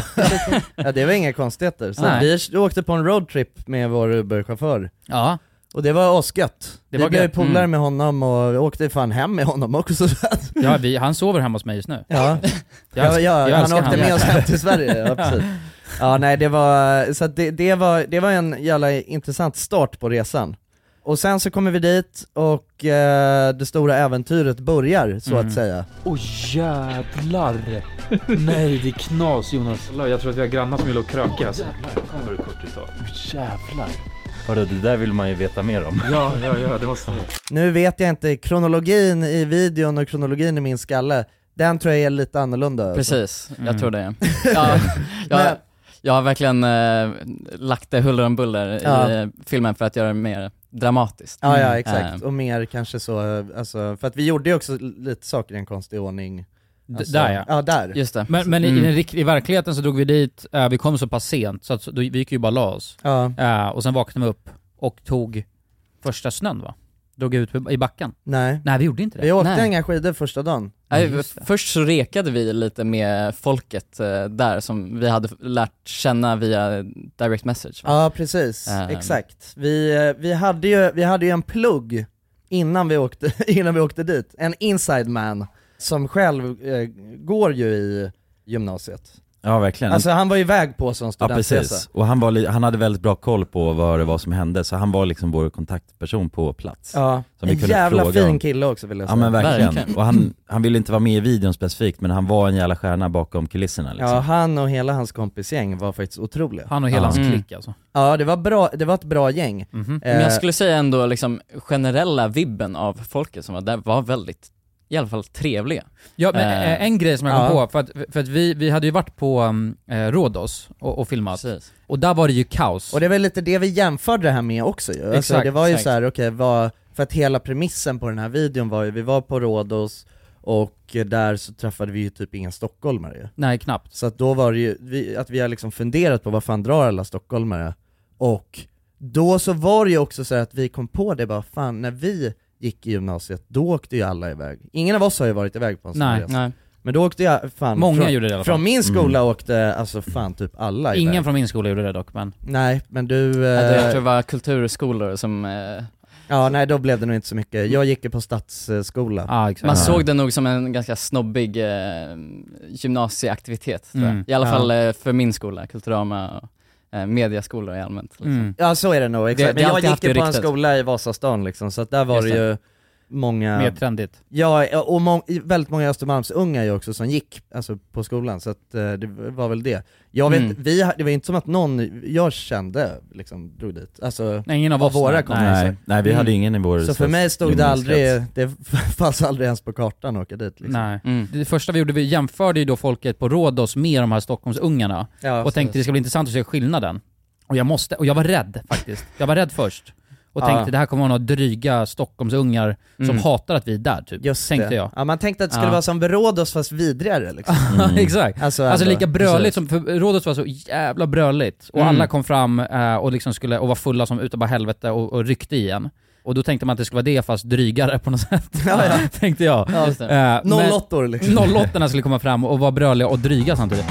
S5: ja det var inga konstigheter. Så
S3: Nej.
S5: vi åkte på en roadtrip med vår Uber-chaufför.
S3: Ja.
S5: Och det var asgött.
S3: Det
S5: vi
S3: var
S5: blev
S3: gött.
S5: polare
S3: Mm.
S5: med honom och vi åkte fan hem med honom också.
S3: Ja, vi, han sover hemma hos mig just nu.
S5: Ja,
S3: Jag älskar-
S5: ja,
S3: jag
S5: ja han
S3: älskar
S5: åkte
S3: han.
S5: med oss hem till Sverige, ja precis. Ja nej det var, så att det, det, var, det var en jävla intressant start på resan. Och sen så kommer vi dit och eh, det stora äventyret börjar så
S8: Mm.
S5: att säga.
S8: Åh jävlar! Nej det är knas Jonas. Jag tror att vi har grannar som vill och krökas.
S6: Kommer du kortis av?
S8: Jävlar.
S6: Hörru, det där vill man ju veta mer om.
S8: Ja, ja, ja, det måste man.
S5: Nu vet jag inte, kronologin i videon och kronologin i min skalle, den tror jag är lite annorlunda. alltså.
S4: Precis, jag tror
S3: mm.
S4: det. Ja, jag, jag har verkligen eh, lagt det huller om buller
S5: Ja.
S4: i eh, filmen för att göra det mer dramatiskt.
S5: Ja, ja exakt.
S4: Eh,
S5: Och mer kanske så, eh, alltså, för att vi gjorde ju också lite saker i en konstig ordning.
S3: D-
S5: Alltså,
S3: där ja.
S5: Ja, där.
S3: Men, men i-
S4: Mm.
S3: i, den rikt- i verkligheten så drog vi dit, eh, vi kom så pass sent så att så- då, vi gick ju bara och la oss.
S5: Ja.
S3: Eh, och sen vaknade vi upp och tog första snön va? Drog ut i backen.
S5: Nej.
S3: Nej vi gjorde inte det.
S5: Vi åkte
S3: Nej.
S5: inga skidor första dagen.
S4: Nej, först så rekade vi lite med folket eh, där som vi hade f- lärt känna via direct message. va?
S5: Ja precis,
S4: Ehm.
S5: exakt. Vi, eh, vi, hade ju, vi hade ju en plugg innan vi, åkte, innan vi åkte dit, en inside man som själv eh, går ju i gymnasiet.
S6: Ja verkligen.
S5: Alltså han var ju iväg på sån
S6: Mm. Ja
S5: studentresa.
S6: precis, och han, var, li- han hade väldigt bra koll på vad det var som hände, så han var liksom vår kontaktperson på plats.
S5: Ja.
S6: Som vi
S5: En
S6: kunde
S5: jävla
S6: fråga
S5: fin
S6: om.
S5: kille också, vill jag
S6: Ja
S5: säga.
S6: men verkligen,
S5: Verkligen.
S6: och han, han ville inte vara med i videon specifikt men han var en jävla stjärna bakom kulisserna liksom.
S5: Ja, han och hela hans kompisgäng var faktiskt otroliga.
S3: Han och hela
S6: Ja.
S3: hans
S6: Mm.
S3: klick alltså.
S5: Ja det var, bra, det var ett bra gäng.
S4: Men jag
S5: Eh,
S4: skulle säga ändå liksom generella vibben av folket som var där var väldigt, i alla fall trevliga.
S3: Ja men
S4: Eh,
S3: eh, en grej som jag kom
S4: ja.
S3: på, för att, för att vi, vi hade ju varit på um, eh, Rhodos och, och filmat. Och där var det ju kaos.
S5: Och det var lite det vi jämförde det här med också ju. alltså,
S3: Exakt,
S5: det var ju
S3: exakt.
S5: så här, okej, vad- för att hela premissen på den här videon var ju, vi var på Rhodos och där så träffade vi ju typ inga stockholmare ju.
S3: Nej knappt.
S5: Så att då var det ju, vi, att vi har liksom funderat på vad fan drar alla stockholmare? Och då så var det ju också så här att vi kom på det bara, fan när vi gick i gymnasiet, då åkte ju alla iväg. Ingen av oss har ju varit iväg på
S4: Alltså,
S5: en sån
S3: Nej,
S5: resa.
S3: nej.
S5: Men då åkte jag, fan,
S3: Många
S5: från,
S3: gjorde det i alla fall.
S5: från min skola
S3: Mm.
S5: åkte alltså fan typ alla iväg.
S3: Ingen från min skola gjorde det dock men.
S5: Nej, men du...
S4: Ja, det-
S5: eh,
S4: jag tror det var kulturskolor som... eh,
S5: Ja, nej då blev det nog inte så mycket. Jag gick ju på stadsskola.
S4: Man såg det nog som en ganska snobbig eh, gymnasieaktivitet tror jag.
S5: Mm.
S4: I alla
S5: Ja.
S4: fall eh, för min skola, Kulturama och eh, mediaskolor i allmänt. Liksom.
S3: Mm.
S5: Ja så är det nog, exakt.
S4: Det- det
S5: Men
S4: har
S5: jag
S4: alltid
S5: gick
S4: haft
S5: ju
S4: det
S5: på en
S4: ryktet.
S5: skola i Vasastan liksom, så att där var
S4: Just
S5: det
S4: det.
S5: ju många
S3: Mer trendigt.
S5: Ja, och må- väldigt många Östermalmsungar ju också som gick alltså, på skolan, så att, eh, det var väl det. Jag vet,
S3: Mm.
S5: vi, ha- det var inte som att någon jag kände liksom drog dit, alltså
S3: Nej, ingen av oss,
S5: våra
S3: nej.
S5: kompisar.
S6: Nej, nej, vi hade ingen i vår
S5: Så för mig stod det
S6: ungdomskrets.
S5: aldrig, det fanns aldrig ens på kartan att åka dit liksom.
S3: Nej.
S4: Mm.
S3: Det första vi gjorde, vi jämförde ju då folket på Rhodos med de här Stockholmsungarna.
S5: Ja,
S3: och tänkte
S5: precis.
S3: det ska bli intressant att se skillnaden. Och jag måste, och jag var rädd faktiskt. Jag var rädd först. Och
S5: Ja.
S3: tänkte det här kommer vara några dryga Stockholmsungar som
S5: Mm.
S3: hatar att vi är där typ.
S5: Just
S3: tänkte
S5: det.
S3: jag.
S5: Ja, man tänkte att det skulle
S3: Ja.
S5: vara som Berådos fast vidrigare liksom.
S3: Exakt. Alltså,
S5: ändå.
S3: lika bröligt
S5: Precis.
S3: som, för Rhodos var så jävla bröligt. Och
S5: Mm.
S3: alla kom fram eh, och liksom skulle, och var fulla som utav bara helvete och, och ryckte igen. Och då tänkte man att det skulle vara det fast drygare på något sätt. tänkte jag.
S5: Ja, just det. Nollåttor, liksom.
S3: 08 Eh, skulle komma fram och vara bröliga och dryga samtidigt.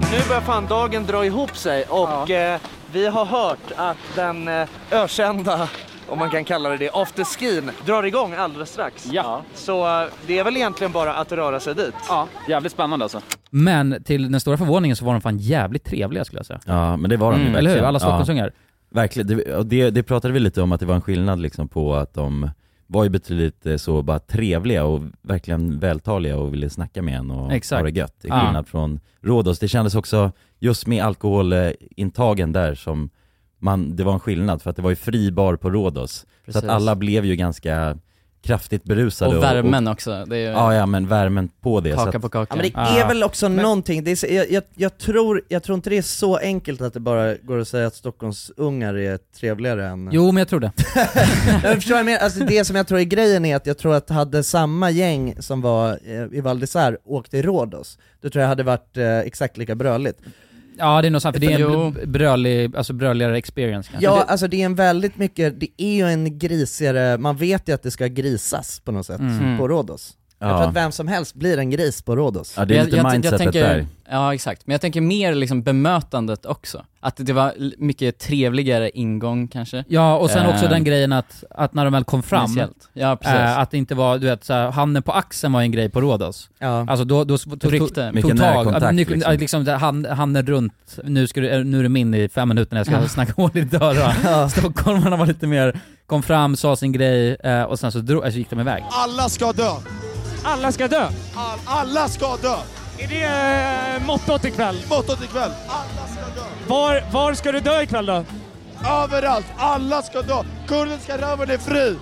S12: Nu börjar fan dagen dra ihop sig och eh, vi har hört att den eh, ökända, om man kan kalla det det, afterskin drar igång alldeles strax. Ja. Så eh, det är väl egentligen bara att röra sig dit. Ja, jävligt spännande alltså.
S3: Men till den stora förvåningen så var de fan jävligt trevliga skulle jag säga.
S6: Ja men det var de
S3: Mm,
S6: ju
S3: eller
S6: verkligen.
S3: hur? Alla Stockholmsungar.
S6: Ja, verkligen, det, och det, det pratade vi lite om att det var en skillnad liksom på att de var ju betydligt eh, så bara trevliga och verkligen vältaliga och ville snacka med en och
S3: Exakt.
S6: ha det gött. Till
S3: Ja.
S6: skillnad från Rhodos. Det kändes också, just med alkoholintagen där som man, det var en skillnad för att det var ju fri bar på Rhodos. Så
S4: Precis.
S6: att alla blev ju ganska kraftigt berusade.
S4: Och värmen också, det är ju-
S6: Ja, ja men värmen på det.
S4: Kaka på kaka.
S5: Ja, men det är väl också någonting, det är, så- jag, jag, jag, tror, jag tror inte det är så enkelt att det bara går att säga att Stockholmsungar är trevligare än...
S3: Jo men jag tror det.
S5: jag förstår vad jag menar. alltså det som jag tror är grejen är att jag tror att hade samma gäng som var eh, i Val d'Isère åkt i Rhodos, då tror jag hade varit eh, exakt lika bröligt.
S3: Ja det är nog sant, för det är en
S5: Jo.
S3: br- brölig, alltså bröligare experience kanske.
S5: Ja,
S3: Det-
S5: alltså det är en väldigt mycket, det är ju en grisigare, man vet ju att det ska grisas på något sätt
S4: Mm.
S5: på Rhodos. Jag
S4: Ja.
S5: tror att vem som helst blir en gris på Rhodos.
S4: tänker, Ja, exakt. Men jag tänker mer liksom bemötandet också. Att det var l- mycket trevligare ingång kanske.
S3: Ja, och sen också
S4: Eh,
S3: den grejen att, att när de väl kom fram,
S4: Initiellt. Ja,
S5: Äh,
S4: precis.
S3: eh, att det inte var, du vet, så här, handen på axeln var ju en grej på Rhodos.
S5: Ja.
S3: Alltså då, då tog, tog,
S4: Rykte.
S3: tog
S4: Mycket
S3: tag,
S4: närkontakt,
S3: att nyc-
S4: liksom.
S3: att liksom. där hand, handen runt, nu, ska du, eh, nu är det min i fem minuter när jag ska
S4: Ja.
S3: snacka hål i dörrar. Stockholmarna var lite mer, kom fram, sa sin grej eh, och sen så drog, alltså gick de iväg.
S16: Alla ska dö! Alla ska dö? All, alla ska dö! Är det eh, mottot ikväll? Mottot ikväll! Alla ska dö!
S2: Var, var ska du dö ikväll då?
S16: Överallt! Alla ska dö! Kurdiska röven är fri!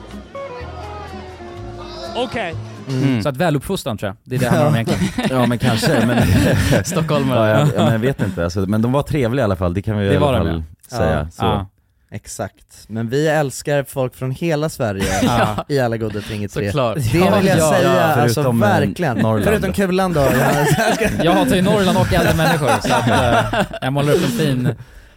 S2: Okej.
S6: Mm.
S3: Så att väluppfostran tror jag, det är det det handlar om egentligen.
S6: Ja men kanske, men...
S4: Stockholmare.
S6: ja, jag, men jag vet inte, alltså, men de var trevliga i alla fall, det kan vi
S3: Det
S6: i
S3: var
S6: alla
S3: de,
S6: fall
S5: ja.
S6: säga.
S5: Ja.
S6: Så.
S5: Ja. Exakt, men vi älskar folk från hela Sverige
S6: Ja.
S5: i alla goda ting i tre.
S6: Såklart.
S5: Det vill
S6: Ja,
S5: jag
S6: ja,
S5: säga,
S6: ja.
S5: alltså
S6: Förutom, eh,
S5: verkligen.
S6: Norrland.
S5: Förutom Kulan då. Jag,
S3: Jag hatar ju Norrland och äldre människor, så att, eh, jag målar upp en fin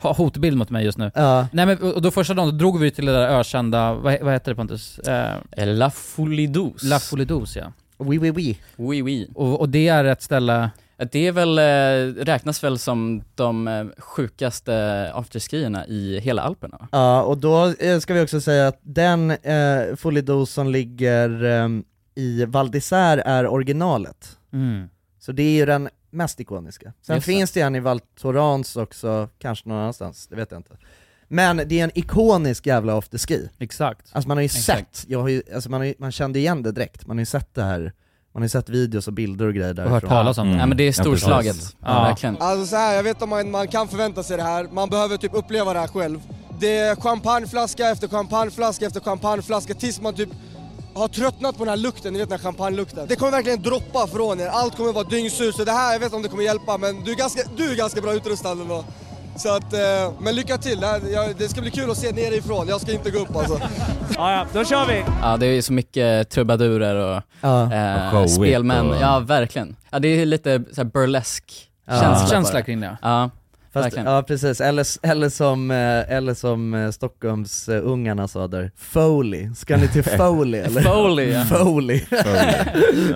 S3: ha- hotbild mot mig just nu. Nej men och då första dagen då drog vi till det där ökända, vad, vad heter det Pontus? Eh,
S4: La Folidos.
S3: La Folidos ja.
S5: Oui, oui, oui.
S4: Oui, oui.
S3: Och, och det är ett ställe...
S4: Det är väl, eh, räknas väl som de eh, sjukaste afterskierna i hela Alperna? va?
S5: Ja, och då eh, ska vi också säga att den eh, Folidos som ligger eh, i Val d'Isère är originalet.
S3: Mm.
S5: Så det är ju den mest ikoniska. Sen
S3: Just det.
S5: finns det en i Val Thorens också, kanske någon annanstans, det vet jag inte. Men det är en ikonisk jävla afterski.
S3: Exakt.
S5: Alltså man har ju
S3: Exakt.
S5: sett, jag har ju, alltså man, har ju, man kände igen det direkt, man har ju sett det här, man har ju sett videos och bilder och grejer därifrån.
S3: talas om det. Ja, men det är storslaget.
S5: Ja.
S17: Alltså så här, jag vet att man, man kan förvänta sig det här. Man behöver typ uppleva det här själv. Det är champagneflaska efter champagneflaska efter champagneflaska tills man typ har tröttnat på den här lukten, ni vet den här champagnelukten. Det kommer verkligen droppa från er, allt kommer vara dyngsurt. Så det här, jag vet inte om det kommer hjälpa men du är ganska, du är ganska bra utrustad ändå. Så att, eh, men lycka till, det, här, jag, det ska bli kul att se nerifrån. Jag ska inte gå upp alltså.
S2: Ja, ja, då kör vi!
S4: Ja, det är ju så mycket trubadurer och
S5: Ja.
S4: eh,
S5: Och showigt
S4: spelmän.
S5: och-
S4: Ja, verkligen. Ja, det är ju lite så här burlesk
S5: Ja.
S4: känsla,
S5: Känsla
S4: bara.
S3: kring det.
S4: Ja,
S5: Fast,
S4: verkligen.
S5: ja precis, eller, s- eller som, eh, eller som eh, Stockholmsungarna sa där, Foley, ska ni till Foley eller?
S3: Foley, ja.
S5: Foley.
S3: Foley, ja.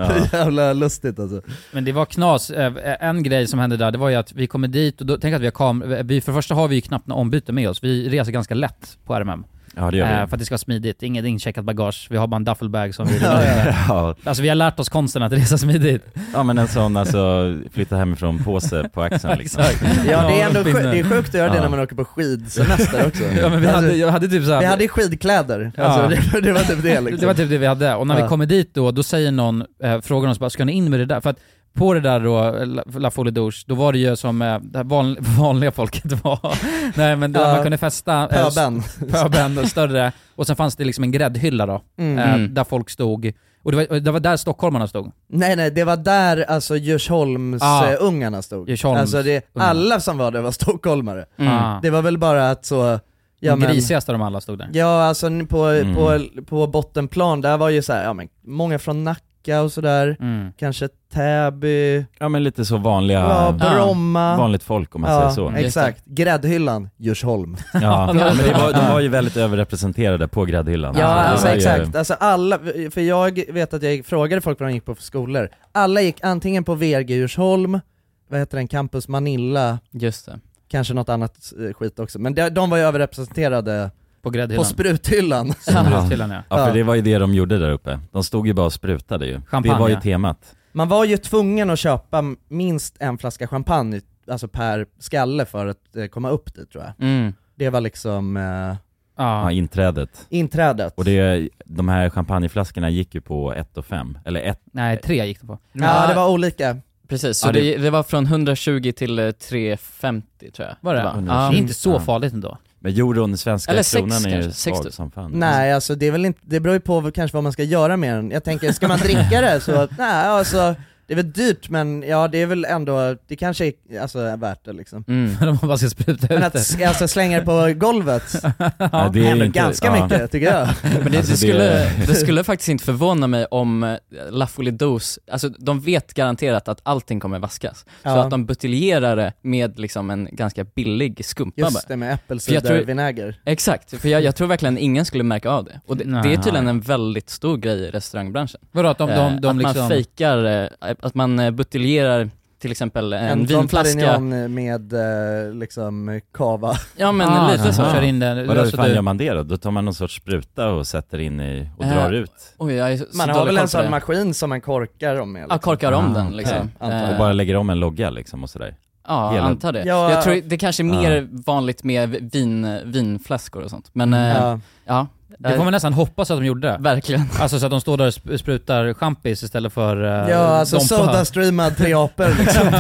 S5: Det är jävla lustigt alltså.
S3: Men det var knas, Eh, en grej som hände där, det var ju att vi eh, kommer dit och då, tänk att vi har kam- vi, för det första har vi ju knappt några ombyte med oss, vi reser ganska lätt på RMM.
S6: Ja, det gör vi.
S3: Eh, För att det ska vara smidigt. Inget incheckat bagage. Vi har bara en duffelbag som vi rullar
S6: Ja.
S3: Alltså vi har lärt oss konsten att resa smidigt.
S6: Ja men en sån alltså, flytta hemifrån-påse på axeln liksom.
S3: Exakt.
S5: Ja det är ändå sjukt,
S3: pinne.
S5: det är sjukt att göra det
S6: Ja.
S5: när man åker på skidsemester också
S3: Ja, men vi hade- jag hade typ så här-
S5: Vi hade skidkläder, alltså, det, det var typ det liksom
S3: Det var typ det vi hade. Och när
S5: Ja.
S3: vi kommer dit då, då säger någon, eh, frågar oss bara, ska ni in med det där? För att på det där då, eh, La, La Folie Douche, då var det ju som eh, det här van, vanliga folket var. Nej men då,
S5: Ja.
S3: man kunde festa... eh, s-
S5: Pöben.
S3: Pöben, och större. Och sen fanns det liksom en gräddhylla då,
S5: Mm.
S3: eh,
S5: Mm.
S3: där folk stod. Och det var, och det var där stockholmarna stod.
S5: Nej nej, det var där alltså
S3: Ah.
S5: Djursholmsungarna stod
S3: Djursholms-
S5: Alltså det,
S3: ungarna.
S5: alla som var där var stockholmare
S3: Mm. Ah.
S5: Det var väl bara att så
S3: De grisigaste av dem alla stod där.
S5: Ja alltså n- på,
S3: Mm.
S5: på, på bottenplan, där var ju så här, ja men många från Nacka och sådär,
S3: Mm.
S5: kanske Täby
S6: Ja men lite så vanliga,
S5: Ja, Bromma.
S6: vanligt folk om man
S5: Ja,
S6: säger så.
S5: Exakt, gräddhyllan, Djursholm.
S6: Ja, men det var, de var ju väldigt överrepresenterade på gräddhyllan.
S5: Ja,
S6: Alltså,
S5: alltså
S6: det var ju-
S5: exakt. Alltså alla, för jag vet att jag frågade folk vad de gick på för skolor. Alla gick antingen på VRG Djursholm, vad heter den, Campus Manilla,
S4: Just det.
S5: kanske något annat eh, skit också. Men de, de var ju överrepresenterade
S3: på, gräddhyllan.
S5: spruthyllan.
S3: Spruthyllan, ja.
S6: Ja för det var ju det de gjorde där uppe. De stod ju bara och sprutade ju.
S5: Champagne.
S6: Det var ju temat.
S5: Man var ju tvungen att köpa minst en flaska champagne, alltså per skalle för att eh, komma upp dit tror jag.
S6: Mm.
S5: Det var liksom eh,
S6: Ja, inträdet.
S5: inträdet.
S6: Och det, de här champagneflaskorna gick ju på 1 och 5, eller 1
S3: Nej, tre gick det på.
S5: Ja, det var olika.
S4: Precis, så
S6: Ja, det-
S4: det... Det, var från 120 till eh, 350 tror jag.
S3: Var det?
S4: Ja.
S3: Det är inte så farligt ändå.
S6: Men euron, svenska
S4: Eller sex
S6: kronan är ju
S4: kanske, sex
S6: svag
S4: typ.
S6: som fan.
S5: Nej alltså det är väl inte, det beror ju på vad- kanske vad man ska göra med den. Jag tänker, ska man dricka det så, nej alltså det är väl dyrt men ja det är väl ändå, det kanske är, alltså, är värt det liksom.
S4: Mm.
S3: Men om man bara ska spruta
S5: Men
S3: ut
S5: att
S3: det.
S5: s- alltså, slänga det på golvet,
S6: Ja, det är
S5: händer
S6: inte-
S5: ganska
S6: ja.
S5: mycket tycker jag.
S4: Men det,
S6: Alltså,
S4: det,
S6: det-
S4: skulle, det skulle faktiskt inte förvåna mig om eh, La Folie Douce, alltså de vet garanterat att allting kommer vaskas. Så
S5: Ja.
S4: att de buteljerar det med liksom en ganska billig skumpa bara.
S5: Just det med
S4: För jag tror-
S5: äppelcidervinäger.
S4: Exakt, för jag, jag tror verkligen ingen skulle märka av det. Och det, det är tydligen en väldigt stor grej i restaurangbranschen.
S3: Vadå, att de- de-
S4: Eh,
S3: de
S4: att
S3: liksom-
S4: man fejkar, eh, att man eh, buteljerar till exempel en,
S5: En Dom
S4: vinflaska.
S5: Perignon med eh, liksom kava.
S4: Ja, men
S3: Ah, lite så. Kör in den.
S6: Vadå, hur
S3: Alltså,
S6: fan
S3: du-
S6: gör man det då? Då tar man någon sorts spruta och sätter in i, och
S4: Eh,
S6: drar ut?
S4: Oj, jag är så
S5: Man har
S4: dålig
S5: väl
S4: koll
S5: en
S4: på det.
S5: sån maskin som man korkar om med?
S4: Ja, korkar om den
S6: okej.
S4: liksom.
S6: Och
S4: Eh,
S6: bara lägger om en logga liksom och sådär?
S4: Ja, jag
S6: Hela-
S4: antar det. Jag tror det kanske är mer vanligt med vin, vinflaskor och sånt. Men eh,
S5: liksom.
S3: Ja.
S4: ja.
S3: Det får man nästan hoppas att de gjorde det.
S4: Verkligen.
S3: Alltså så att de står där och sp- sprutar champis istället för eh,
S5: Ja alltså
S3: Dompa.
S5: Sodastreamad tre apor liksom.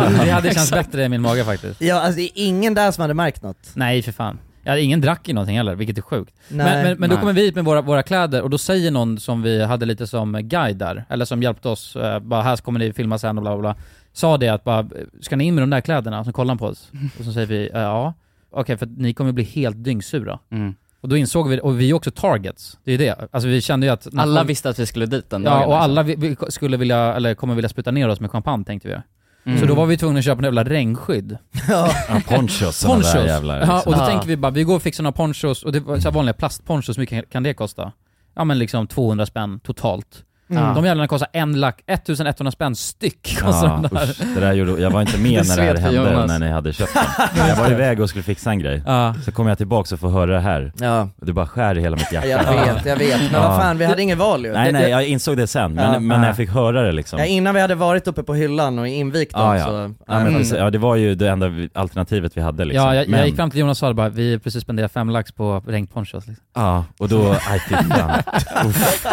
S3: Det hade känts bättre i min mage faktiskt.
S5: Ja alltså det är ingen där som hade märkt något.
S3: Nej för fan. Ja, ingen drack i någonting heller, vilket är sjukt.
S5: Nej.
S3: men men, men då
S5: Nej.
S3: kommer vi hit med våra, våra kläder och då säger någon som vi hade lite som guide där, eller som hjälpte oss, eh, bara här kommer ni filma sen och bla bla bla. Sa det att bara, ska ni in med de där kläderna? Och så kollar han på oss.
S5: Mm.
S3: Och så säger vi, eh, ja. Okej, för att ni kommer bli helt dyngsura.
S5: Mm.
S3: Och då insåg vi, och vi är också targets. Det är det. Alltså vi kände ju att...
S4: Alla visste att vi skulle dit den
S3: Ja,
S4: dagen,
S3: och
S4: liksom.
S3: alla vi, vi skulle vilja, eller kommer vilja spruta ner oss med champagne tänkte vi.
S4: Mm.
S3: Så då var vi tvungna att köpa en jävla regnskydd.
S6: Ja, ponchos, såna där jävlar, liksom.
S3: Ja, och då
S6: Ja.
S3: tänker vi bara, vi går och fixar några ponchos, och det var så här vanliga plastponchos, hur mycket kan det kosta? Ja men liksom 200 spänn totalt.
S6: Mm.
S3: De jävlarna kostar en lack, 1100 spänn styck Alltså, kostar
S6: Ja,
S3: de där.
S6: usch, det där gjorde, jag var inte med
S3: Det
S6: när det här
S3: slet för
S6: hände,
S3: Jonas.
S6: när ni hade köpt den. Jag var iväg och skulle fixa en grej, så kom jag tillbaka och får höra det här.
S5: Ja.
S6: Och det bara skär i hela mitt hjärta.
S5: Jag vet, jag vet. Men vad fan, vi hade inget val ju.
S6: Nej
S5: Det-
S6: nej,
S5: det-
S6: jag insåg det sen, men,
S5: Ja.
S6: men när jag fick höra det liksom.
S5: Ja, innan vi hade varit uppe på hyllan och invigt dem
S6: Ja, ja.
S5: så...
S6: ja, men, precis. ja, det var ju det enda vi- alternativet vi hade liksom.
S3: Mm. Ja, jag,
S6: men,
S3: jag gick fram till Jonas och sa det bara, vi har precis spenderat fem lax på regnponchos liksom.
S6: Ja, och då, aj fy fan. Uff.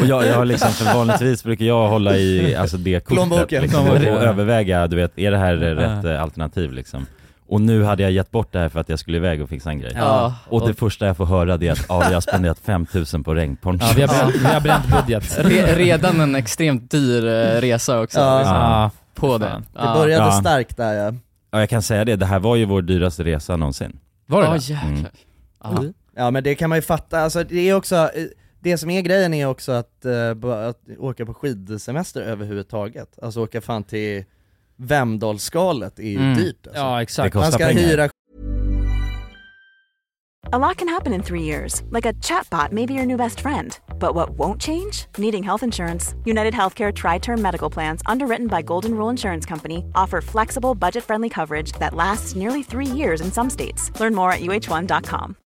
S6: Och jag, jag har liksom, för vanligtvis brukar jag hålla i alltså det kortet
S5: Plånboken.
S6: liksom, och, och
S5: Plånboken.
S6: överväga, du vet, är det här
S5: Ja.
S6: rätt eh, alternativ liksom? Och nu hade jag gett bort det här för att jag skulle iväg och fixa en grej.
S3: Ja.
S6: Och det första jag får höra det är att, ja vi har spenderat 5000 på regnponchos.
S3: Ja, vi har bränt- vi har bränt budget.
S4: Re, redan en extremt dyr eh, resa också.
S6: Ja.
S4: Liksom,
S6: Ja.
S4: På det.
S6: Fan.
S4: Ja.
S5: började
S6: Ja.
S5: starkt där ja.
S6: Ja, jag kan säga det, det här var ju vår dyraste resa någonsin.
S3: Var
S5: det det?
S6: Mm.
S5: Ja. ja men det kan man ju fatta, alltså det är också, eh, det som är grejen är också att, eh, bara att åka på skidsemester överhuvudtaget, alltså åka fan till Vemdalsskalet är ju
S3: Mm.
S5: dyrt alltså.
S3: Ja, exakt. Det kostar
S5: Man ska
S3: pengar.
S5: hyra
S11: A lot can happen in three years, like a chatbot may be your new best friend. But what won't change? Needing health insurance. United Healthcare Tri Term Medical Plans, underwritten by Golden Rule Insurance Company, offer flexible, budget friendly coverage that lasts nearly three years in some states. Learn more at uh1.com.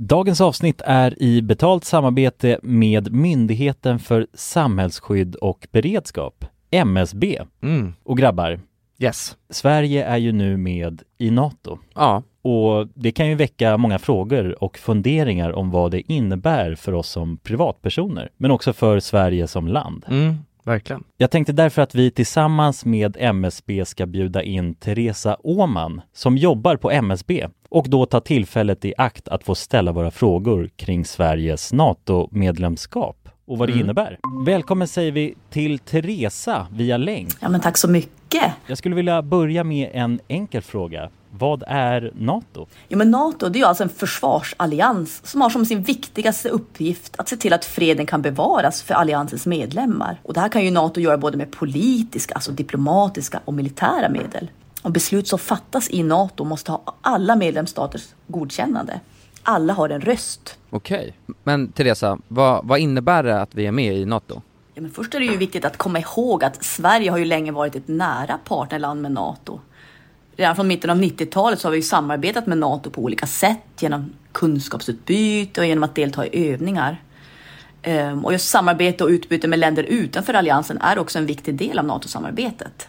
S6: Dagens avsnitt är i betalt samarbete med Myndigheten för samhällsskydd och beredskap, MSB.
S4: Mm.
S6: Och grabbar,
S4: yes.
S6: Sverige är ju nu med i NATO.
S4: Ja.
S6: Och det kan ju väcka många frågor och funderingar om vad det innebär för oss som privatpersoner, men också för Sverige som land.
S4: Mm, verkligen.
S6: Jag tänkte därför att vi tillsammans med MSB ska bjuda in Teresa Åman som jobbar på MSB och då ta tillfället i akt att få ställa våra frågor kring Sveriges NATO-medlemskap och vad det
S18: Mm.
S6: innebär. Välkommen säger vi till Teresa via länk.
S18: Ja, men tack så mycket.
S6: Jag skulle vilja börja med en enkel fråga. Vad är NATO?
S18: Jo, men Nato det är ju alltså en försvarsallians som har som sin viktigaste uppgift att se till att freden kan bevaras för alliansens medlemmar. Och det här kan ju Nato göra både med politiska, alltså diplomatiska och militära medel. Och beslut som fattas i Nato måste ha alla medlemsstaters godkännande. Alla har en röst.
S19: Okej. Men Teresa, vad, vad innebär det att vi är med i NATO?
S18: Ja, men först är det ju viktigt att komma ihåg att Sverige har ju länge varit ett nära partnerland med Nato. Redan från mitten av 90-talet så har vi ju samarbetat med Nato på olika sätt genom kunskapsutbyte och genom att delta i övningar. Ehm, Och just samarbete och utbyte med länder utanför alliansen är också en viktig del av NATO-samarbetet.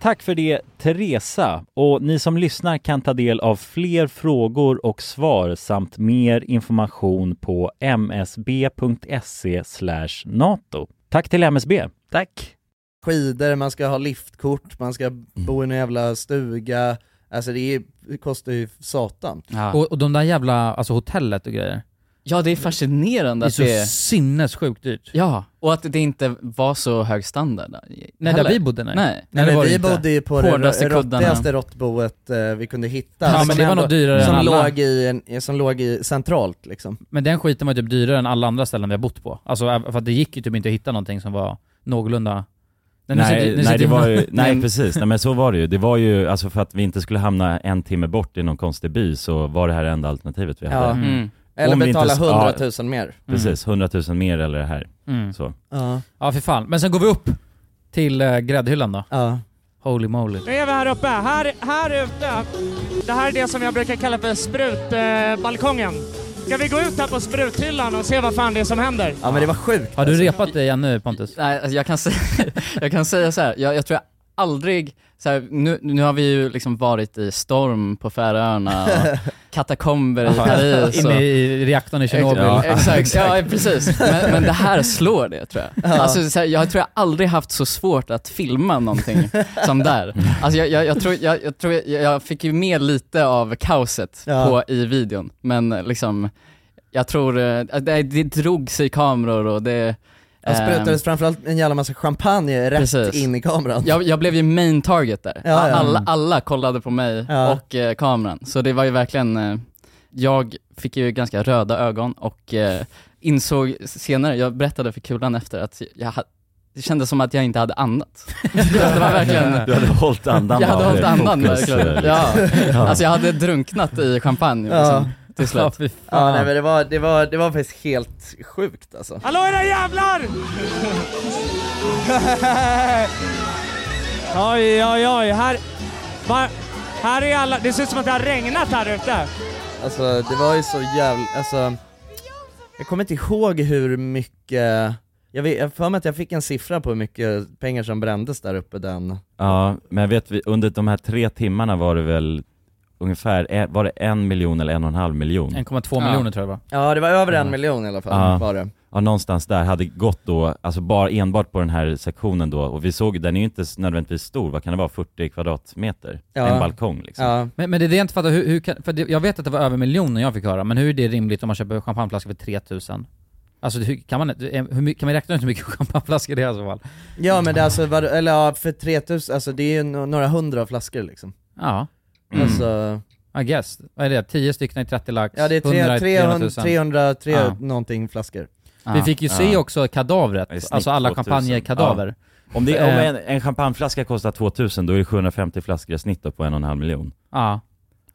S6: Tack för det Teresa och ni som lyssnar kan ta del av fler frågor och svar samt mer information på
S20: E
S6: msb.se nato. Tack till MSB.
S5: Tack! Skidor, man ska ha liftkort, man ska bo i en jävla stuga, alltså det är, det kostar ju satan.
S3: Och, och de där jävla, alltså hotellet och grejer.
S4: Ja, det är fascinerande
S3: Det är
S4: att
S3: så
S4: det är-
S3: sinnessjukt dyrt.
S4: Ja, och att det inte var så hög standard. Nej,
S3: där vi bodde, nej.
S4: Nej,
S5: Nej, men vi bodde ju på det
S4: Hårdaste
S5: rå-
S4: kuddarna.
S5: råttigaste råttboet eh, vi kunde hitta.
S3: Ja,
S5: som
S3: men det var
S5: ändå-
S3: nog dyrare
S5: som
S3: än alla.
S5: låg, i en, som låg i centralt liksom.
S3: Men den skiten var typ dyrare än alla andra ställen vi har bott på. Alltså ä- för att det gick ju typ inte att hitta någonting som var någorlunda...
S20: Nej,
S3: nu sitter- nu
S20: nej,
S3: sitter
S20: det
S3: vi-
S20: var ju, nej precis, nej men så var det ju. Det var ju, alltså för att vi inte skulle hamna en timme bort i någon konstig by så var det här det enda alternativet vi hade.
S5: Ja. Mm. Eller
S20: Om vi inte-
S5: betala
S20: ja,
S5: 100 000 mer.
S20: Precis, 100 000 mer eller det här.
S3: Mm.
S20: Så.
S5: Ja.
S3: Ja för fan. Men sen går vi upp till uh, gräddhyllan då.
S5: Ja.
S3: Holy moly.
S9: Nu är vi här uppe. Här, här ute. Det här är det som jag brukar kalla för sprutbalkongen. Eh, Ska vi gå ut här på spruthyllan och se vad fan det är som händer?
S5: Ja men det var sjukt.
S3: Har du repat dig ännu Pontus?
S4: Nej, alltså jag kan säga, jag kan säga så här. Jag, jag tror jag aldrig, så här, nu, nu har vi ju liksom varit i storm på Färöarna och katakomber i
S3: Ja,
S4: Paris. och-
S3: Inne i reaktorn i Tjernobyl.
S4: Ja, Alltså. exakt, ja precis. Men, men det här slår det tror jag.
S3: Ja.
S4: Alltså, så här, jag tror jag aldrig haft så svårt att filma någonting som där. Alltså, jag, jag, jag, tror, jag, jag, tror jag, jag fick ju med lite av kaoset
S5: Ja.
S4: på, i videon, men eh, liksom, jag tror, eh, det, det drog sig kameror och det
S5: Det sprutades framförallt en jävla massa champagne rätt
S4: Precis.
S5: in i kameran.
S4: Jag, jag blev ju main target där.
S5: Ja, ja.
S4: Alla, alla kollade på mig
S5: Ja.
S4: och eh, kameran. Så det var ju verkligen, eh, jag fick ju ganska röda ögon och eh, insåg senare, jag berättade för Kulan efter att jag ha, det kändes som att jag inte hade andat. det var verkligen...
S6: Du hade hållit andan
S4: Jag hade
S6: av
S4: hållit andan
S6: fokus, eh,
S4: verkligen.
S6: liksom.
S4: Ja.
S6: Ja.
S4: Alltså jag hade drunknat i champagne liksom, till slut.
S5: Ja, fy fan. ja nej, men det var, det, var, det var faktiskt helt sjukt alltså.
S2: Hallå era jävlar! oj, oj, oj. Här, va, här är alla... Det ser ut som att det har regnat här ute.
S5: Alltså det var ju så jävla, alltså Jag kommer inte ihåg hur mycket, jag vet- jag har för mig att jag fick en siffra på hur mycket pengar som brändes där uppe den
S6: Ja, men vet vi, under de här tre timmarna var det väl ungefär, eh, var det en miljon eller en och en halv miljon?
S3: 1,2 miljoner tror jag det var.
S5: Ja det var över en miljon i alla fall
S6: ja.
S5: var det
S6: Ja, någonstans där hade gått då, alltså bara enbart på den här sektionen då, och vi såg, den är ju inte s- nödvändigtvis stor, vad kan det vara, 40 kvadratmeter?
S3: Ja.
S6: En balkong liksom.
S3: Men, men det är det jag inte fattar, hur, hur kan, för det, jag vet att det var över miljonen jag fick höra, men hur är det rimligt om man köper champagneflaskor för 3000? Alltså hur, kan, man, hur, mycket- kan man räkna ut hur mycket champagneflaskor det är i så fall?
S5: Ja men det är alltså, var, eller ja, för 3000, alltså det är ju no- några hundra flaskor liksom
S3: Ja.
S5: Alltså,
S3: I guess. Vad är det? 10 stycken i 30 lax?
S5: ja det är
S3: 100
S5: tre-
S3: i 300
S5: 300,
S3: 000.
S5: 300, 300
S3: Ja.
S5: någonting flaskor
S3: Vi fick ju se också kadavret,
S6: I snitt
S3: alltså alla
S6: 2000.
S3: champagnekadaver.
S6: Ja. Om, det, om
S3: Eh,
S6: en, en champagneflaska kostar 2000, då är det 750 flaskor i snitt då på en och en halv miljon.
S3: Ja.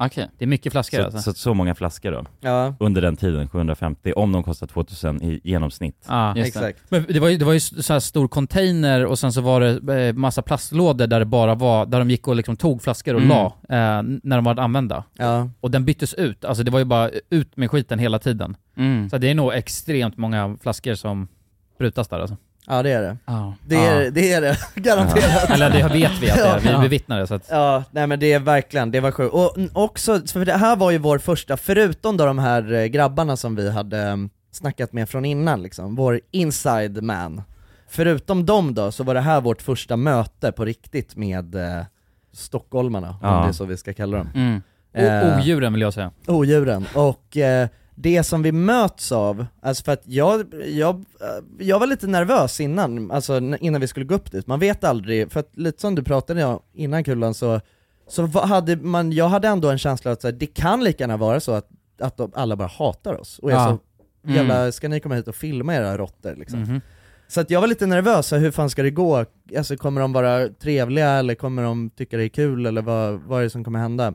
S4: Okej.
S3: Det är mycket flaskor
S6: så,
S3: alltså.
S6: så, så många flaskor då.
S5: Ja.
S6: Under den tiden, 750, om de kostar 2000 i genomsnitt.
S3: Ja, just det. Men det var ju, det var ju så här stor container och sen så var det eh, massa plastlådor där det bara var, där de gick och liksom tog flaskor och
S6: Mm.
S3: la eh, när de var använda.
S5: Ja.
S3: Och den byttes ut, alltså det var ju bara ut med skiten hela tiden.
S5: Mm.
S3: Så det är nog extremt många flaskor som sprutas där alltså.
S5: Ja det är det.
S3: Ja.
S5: Det, är,
S3: Ja.
S5: det är det, garanterat.
S3: Ja. Eller det vet vi att det är. Vi
S5: Ja.
S3: bevittnar det, så att-
S5: Ja, nej men det är verkligen, det var sjukt. Och n- också, för det här var ju vår första, förutom då de här eh, grabbarna som vi hade eh, snackat med från innan liksom, vår inside man. Förutom dem då, så var det här vårt första möte på riktigt med eh, stockholmarna,
S3: Ja.
S5: om det är så vi ska kalla dem.
S3: Mm. O-
S5: Eh,
S3: odjuren vill jag säga.
S5: odjuren. Och eh, det som vi möts av, alltså för att jag, jag, eh, jag var lite nervös innan, alltså n- innan vi skulle gå upp dit, man vet aldrig, för att lite som du pratade om innan Kulan så, så va- hade man, jag hade ändå en känsla att så här, det kan lika gärna vara så att, att de, alla bara hatar oss och är
S3: Ja.
S5: så
S3: Mm.
S5: jävla, ska ni komma hit och filma era råttor liksom?
S3: Mhm.
S5: Så att jag var lite nervös, så här, hur fan ska det gå? Alltså kommer de vara trevliga eller kommer de tycka det är kul eller vad, vad är det som kommer hända?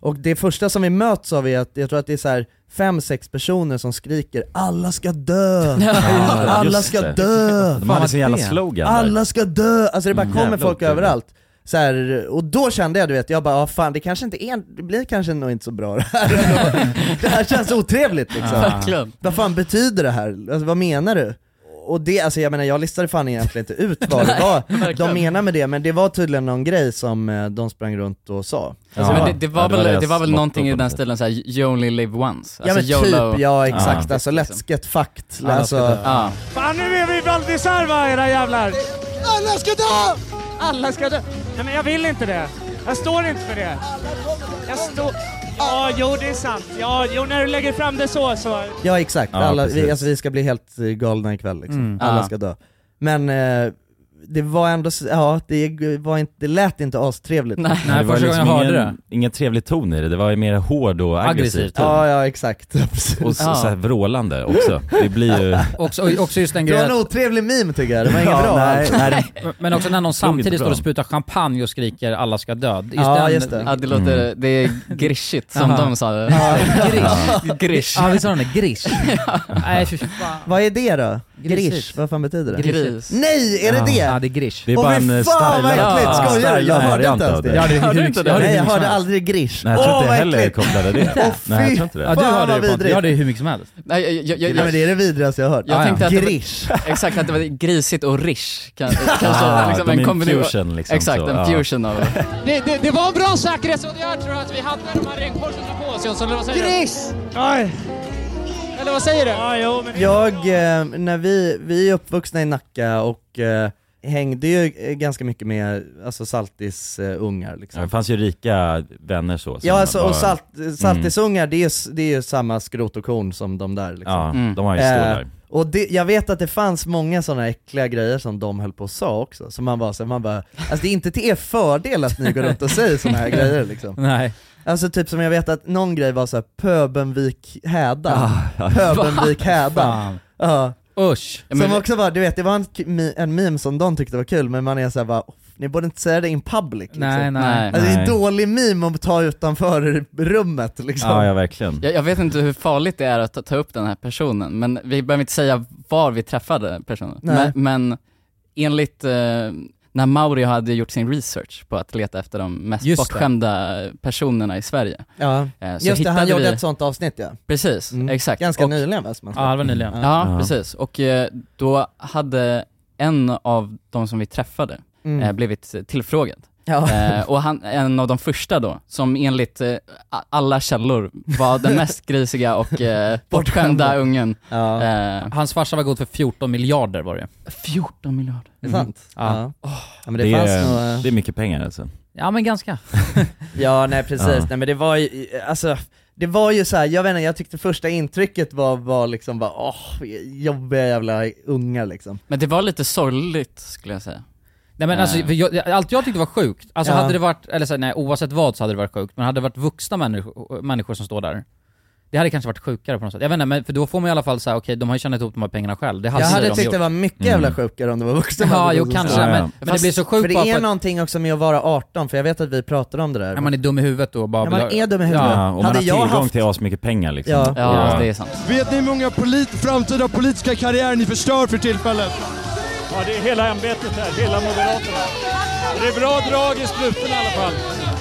S5: Och det första som vi möts av är att, jag tror att det är så här fem, sex personer som skriker 'Alla ska dö!
S6: Ja,
S5: Alla
S6: just
S5: ska
S6: det.
S5: dö!'
S6: De hade sin jävla slogan där.
S5: Alla ska dö! Alltså det bara
S6: Mm.
S5: kommer
S6: Jävla
S5: folk
S6: otroligt.
S5: överallt. Så här, och då kände jag du vet, jag bara ah, fan det kanske inte är, det blir kanske nog inte så bra det här ändå. Det här känns otrevligt liksom.
S4: Ja, verkligen.
S5: Vad fan betyder det här? Alltså, vad menar du? Och det, alltså jag menar jag listade fan egentligen inte ut vad det var de
S4: verkligen.
S5: menar med det, men det var tydligen någon grej som eh, de sprang runt och sa. Alltså,
S4: men det, det var väl, det var väl någonting i den
S5: stilen
S4: stilen såhär, you only live once.
S5: Ja men
S4: Alltså, YOLO.
S5: typ, ja exakt, alltså let's get fucked.
S4: Ja,
S5: Alltså,
S4: let's get- ja.
S2: Fan, nu är vi i Val d'Isère era jävlar!
S16: Alla ska dö!
S2: Alla ska dö! Nej, men jag vill inte det. Jag står inte för det. Jag står... Ja, jo, det är sant. Ja, jo, när du lägger fram det så, så...
S5: Ja exakt,
S2: Ja,
S5: alla, vi,
S2: precis.
S5: alltså, vi ska bli helt eh, galna ikväll liksom.
S2: Mm.
S5: Alla
S2: Ja.
S5: ska dö. Men eh, det var ändå, s- ja det, var inte, det lät inte astrevligt.
S6: det var liksom ingen, ingen trevlig ton i det, det var ju mer hård och aggressiv ton.
S5: Ja ja exakt,
S6: Och
S5: precis.
S6: så, så här vrålande också. Det blir ju...
S3: Också, också just den
S5: Det var
S3: grejen
S5: en
S3: att-
S5: otrevlig meme tycker jag, det var inget
S6: Ja,
S5: bra
S6: nej,
S5: alls.
S6: nej, det-
S3: Men också när någon samtidigt
S6: inte bra.
S3: står och sprutar champagne och skriker 'alla ska dö' Just
S5: Ja,
S3: den,
S5: just det.
S4: Ja, det låter,
S3: Mm.
S4: det är grishigt som
S3: Jaha.
S4: de sa det.
S3: Ja.
S4: Grish. Grish.
S3: Ja, vi sa den där, grish. Nej, fy
S5: Vad är det då?
S3: Grisigt.
S5: Grish, vad fan betyder det?
S3: Gris.
S5: Nej, är det
S3: Ja.
S5: det?
S3: Ja, det är grish. Det är
S5: Åh,
S3: bara
S5: fy
S6: eh,
S3: en
S5: fan
S3: style-
S5: vad äckligt,
S3: Ja,
S5: skojar du? Jag hörde
S6: style-variant
S5: inte ens
S6: av
S5: det.
S6: det. Ja, det är
S3: Hörde du inte det? det?
S5: Nej jag
S3: Hur
S5: hörde
S3: som
S5: aldrig grish.
S6: Nej jag tror
S5: Åh,
S6: inte
S5: vad
S6: heller jag
S5: äckligt.
S6: kopplade det.
S5: Åh,
S6: Nej jag
S5: fy
S6: tror inte det.
S5: Ja, du fan, hörde vad det på- vidrigt.
S3: Ja, det är hur mycket som helst.
S4: Nej, jag, jag, jag,
S5: Nej, men det är det vidrigaste jag har hört.
S4: Jag tänkte att det var-
S5: grish.
S4: Exakt, att det var grisigt och rish. Kan, kanske
S6: Ah,
S4: liksom
S6: de är
S4: en
S6: en
S4: kombination.
S6: fusion liksom,
S4: Exakt,
S6: så,
S4: en
S6: ja.
S4: fusion av...
S1: Det, det, det var en bra säkerhetsåtgärd tror jag att vi hade de här regnkorsen på oss Jonsson, eller vad säger du?
S2: Gris!
S1: Aj. Eller vad säger du?
S2: Ja, jo, men...
S5: Jag, eh, när vi, vi är uppvuxna i Nacka och eh, hängde ju eh, ganska mycket med alltså Saltis eh, ungar liksom.
S6: Ja, det fanns ju rika vänner så. som
S5: Ja alltså,
S6: bara-
S5: och salt,
S6: Mm.
S5: saltisungar det, är, ju s- det är ju samma skrot och korn som de där liksom.
S6: Ja, Mm. de har ju stålar.
S5: och det, jag vet att det fanns många sådana äckliga grejer som de höll på och sa också, som man bara, så man bara alltså det är inte till er fördel att ni går runt och säger sådana här grejer liksom.
S3: Nej.
S5: Alltså typ som jag vet att någon grej var såhär Pöbenvik häda,
S3: Ah, ja.
S5: Pöbenvik
S3: Fan.
S5: häda. Ja.
S3: Usch. Ja,
S5: Som
S3: men det-
S5: också var, du vet det var en, k- mi- en meme som de tyckte var kul, men man är såhär bara, "Off, ni borde inte säga det in public liksom.
S4: Nej, nej.
S5: alltså, Det är
S4: Nej.
S5: en dålig meme att ta utanför rummet liksom.
S6: verkligen.
S4: Jag, jag vet inte hur farligt det är att ta- ta upp den här personen, men vi behöver inte säga var vi träffade personen.
S5: Nej.
S4: Men, men enligt eh, när Mauri hade gjort sin research på att leta efter de mest
S5: Just det.
S4: bortskämda personerna i Sverige.
S5: Ja.
S4: eh, så
S5: Just det, han
S4: hittade
S5: gjorde
S4: vi-
S5: ett sånt avsnitt ja.
S4: Precis, exakt.
S5: Ganska
S4: Och-
S5: nyligen va? som man sa?
S4: Ja,
S5: Ja.
S4: precis. Och eh, då hade en av de som vi träffade
S5: Mm.
S4: eh, blivit eh, tillfrågad.
S5: Ja.
S4: Eh, och han, en av de första då, som enligt eh, a- alla källor var den mest grisiga och eh, bortskämda ungen. Eh,
S3: Hans farsa var god för 14 miljarder var det.
S4: 14 miljarder.
S5: Det är sant.
S3: Ja.
S5: mhm. Ja. Ja, men
S6: det,
S5: det fanns
S6: är,
S5: nog, eh,
S6: det är mycket pengar alltså.
S3: Ja men ganska.
S5: Ja nej precis,
S6: Ja.
S5: nej men det var ju, alltså det var ju så här, jag vet inte, jag tyckte första intrycket var, var liksom bara åh, jobbiga jävla ungar liksom.
S4: Men det var lite sorgligt skulle jag säga.
S3: Nej men alltså,
S4: Eh.
S3: för jag, allt jag tyckte var sjukt, alltså
S4: Ja.
S3: hade det varit, eller så, här, nej oavsett vad så hade det varit sjukt, men hade det varit vuxna människor, människor som står där, det hade kanske varit sjukare på något sätt. Jag vet inte, men för då får man i alla fall säga okej de har ju tjänat ihop de här pengarna själv. Det hade
S5: jag
S3: de
S5: hade tyckt
S3: gjort.
S5: det var mycket jävla
S6: Mm.
S5: sjukare om det var vuxna Alltså,
S3: Ja,
S5: människor
S3: jo
S5: som
S3: kanske,
S5: sa det.
S3: men, men det blir så sjukt
S5: För
S3: bara
S5: det är
S3: för att-
S5: någonting också med att vara 18, för jag vet att vi pratade om det där.
S3: Ja, man är dum i huvudet och bara
S5: Ja, man
S3: vill ha-
S5: är dum i huvudet.
S6: Ja, och man
S5: hade
S6: har
S5: jag
S6: tillgång
S5: haft...
S6: till asmycket pengar liksom.
S5: Ja.
S4: Ja, det är sant.
S16: Vet ni hur många polit framtida politiska karriärer ni förstör för tillfället?
S2: Ja, det är hela ämbetet här, hela Moderaterna. Det är bra drag i strupen i alla fall.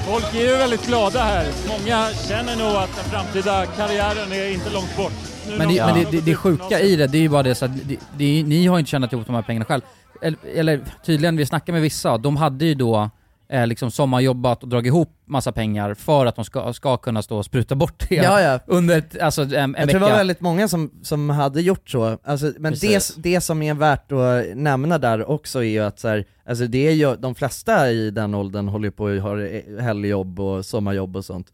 S2: Folk är ju väldigt glada här. Många känner nog att den framtida karriären är inte långt bort. Nu
S3: Men
S2: när
S3: det, men
S2: vi-
S3: det, det, det sjuka i det, det är ju bara det så att det, det, är- ni har ju inte tjänat ihop de här pengarna själv. Eller, eller tydligen, vi snackar med vissa, de hade ju då eh, liksom sommarjobbat och dragit ihop massa pengar för att de ska, ska kunna stå och spruta bort det
S5: Ja, ja.
S3: under ett, alltså, en, en
S5: Jag
S3: vecka.
S5: tror det var väldigt många som, som hade gjort så, alltså, men det,
S3: Precis.
S5: det som är värt att nämna där också är ju att så här, alltså det är ju, de flesta i den åldern håller ju på och har eh, helgjobb och sommarjobb och sånt.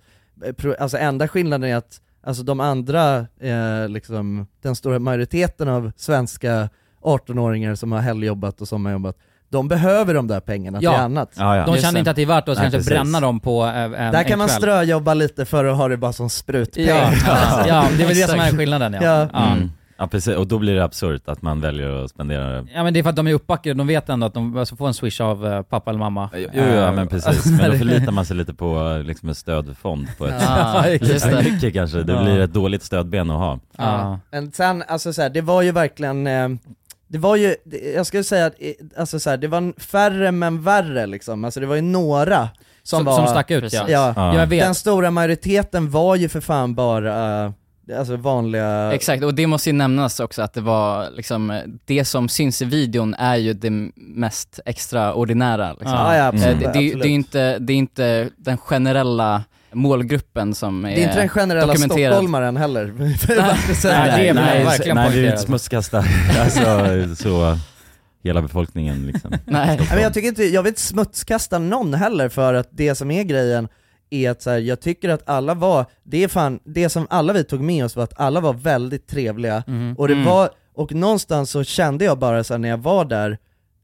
S5: Eh, pro- Alltså enda skillnaden är att alltså de andra, eh, liksom, den stora majoriteten av svenska 18-åringar som har helgjobbat och sommarjobbat, de behöver de där pengarna
S3: Ja.
S5: till annat.
S3: Ja, ja. De känner inte att det är värt att
S5: Nej,
S3: kanske
S5: precis.
S3: bränna dem på eh, en, en
S5: Där kan man
S3: kväll.
S5: ströjobba lite för att ha det bara som sprutpeng.
S3: Ja, ja, det är väl det som är skillnaden, ja. Ja.
S6: Mm. Ja precis, och då blir det absurt att man väljer att spendera
S3: Ja men det är för att de är uppbackade, de vet ändå att de alltså, får en swish av eh, pappa eller mamma.
S6: Jo, ja men precis,
S3: Alltså,
S6: men då
S3: det-
S6: förlitar man sig lite på eh, liksom en stödfond på ett
S5: Ja, Ah, just
S6: lite
S5: det.
S6: mycket kanske, det
S5: Ja.
S6: blir ett dåligt stödben att ha.
S3: Ja.
S5: Men sen, alltså så här, det var ju verkligen, eh, det var ju, det- jag skulle säga att eh, alltså så här, det var en färre men värre liksom, alltså det var ju några som,
S3: Som-
S5: var,
S3: som stack ut, ja.
S5: ja.
S3: Ja, jag vet.
S5: Den stora majoriteten var ju för fan bara, eh, alltså vanliga
S4: Exakt, och det måste ju nämnas också att det var liksom, eh, det som syns i videon är ju det m- mest extraordinära. Liksom.
S5: Ja, ja, absolut.
S4: Eh, det, det, är ju-
S5: Absolut.
S4: det, är ju inte, det är inte den generella målgruppen som är
S5: det är inte den generella
S4: dokumenterad.
S5: stockholmaren heller.
S6: nej, nej, nej, vi vill inte smutskasta alltså, så, hela befolkningen liksom.
S5: Nej. men jag tycker inte, jag vill inte smutskasta någon heller för att det som är grejen är att så här, jag tycker att alla var, det är fan, det som alla vi tog med oss var att alla var väldigt trevliga
S3: Mhm.
S5: och det
S3: Mm.
S5: var, och någonstans så kände jag bara så här, när jag var där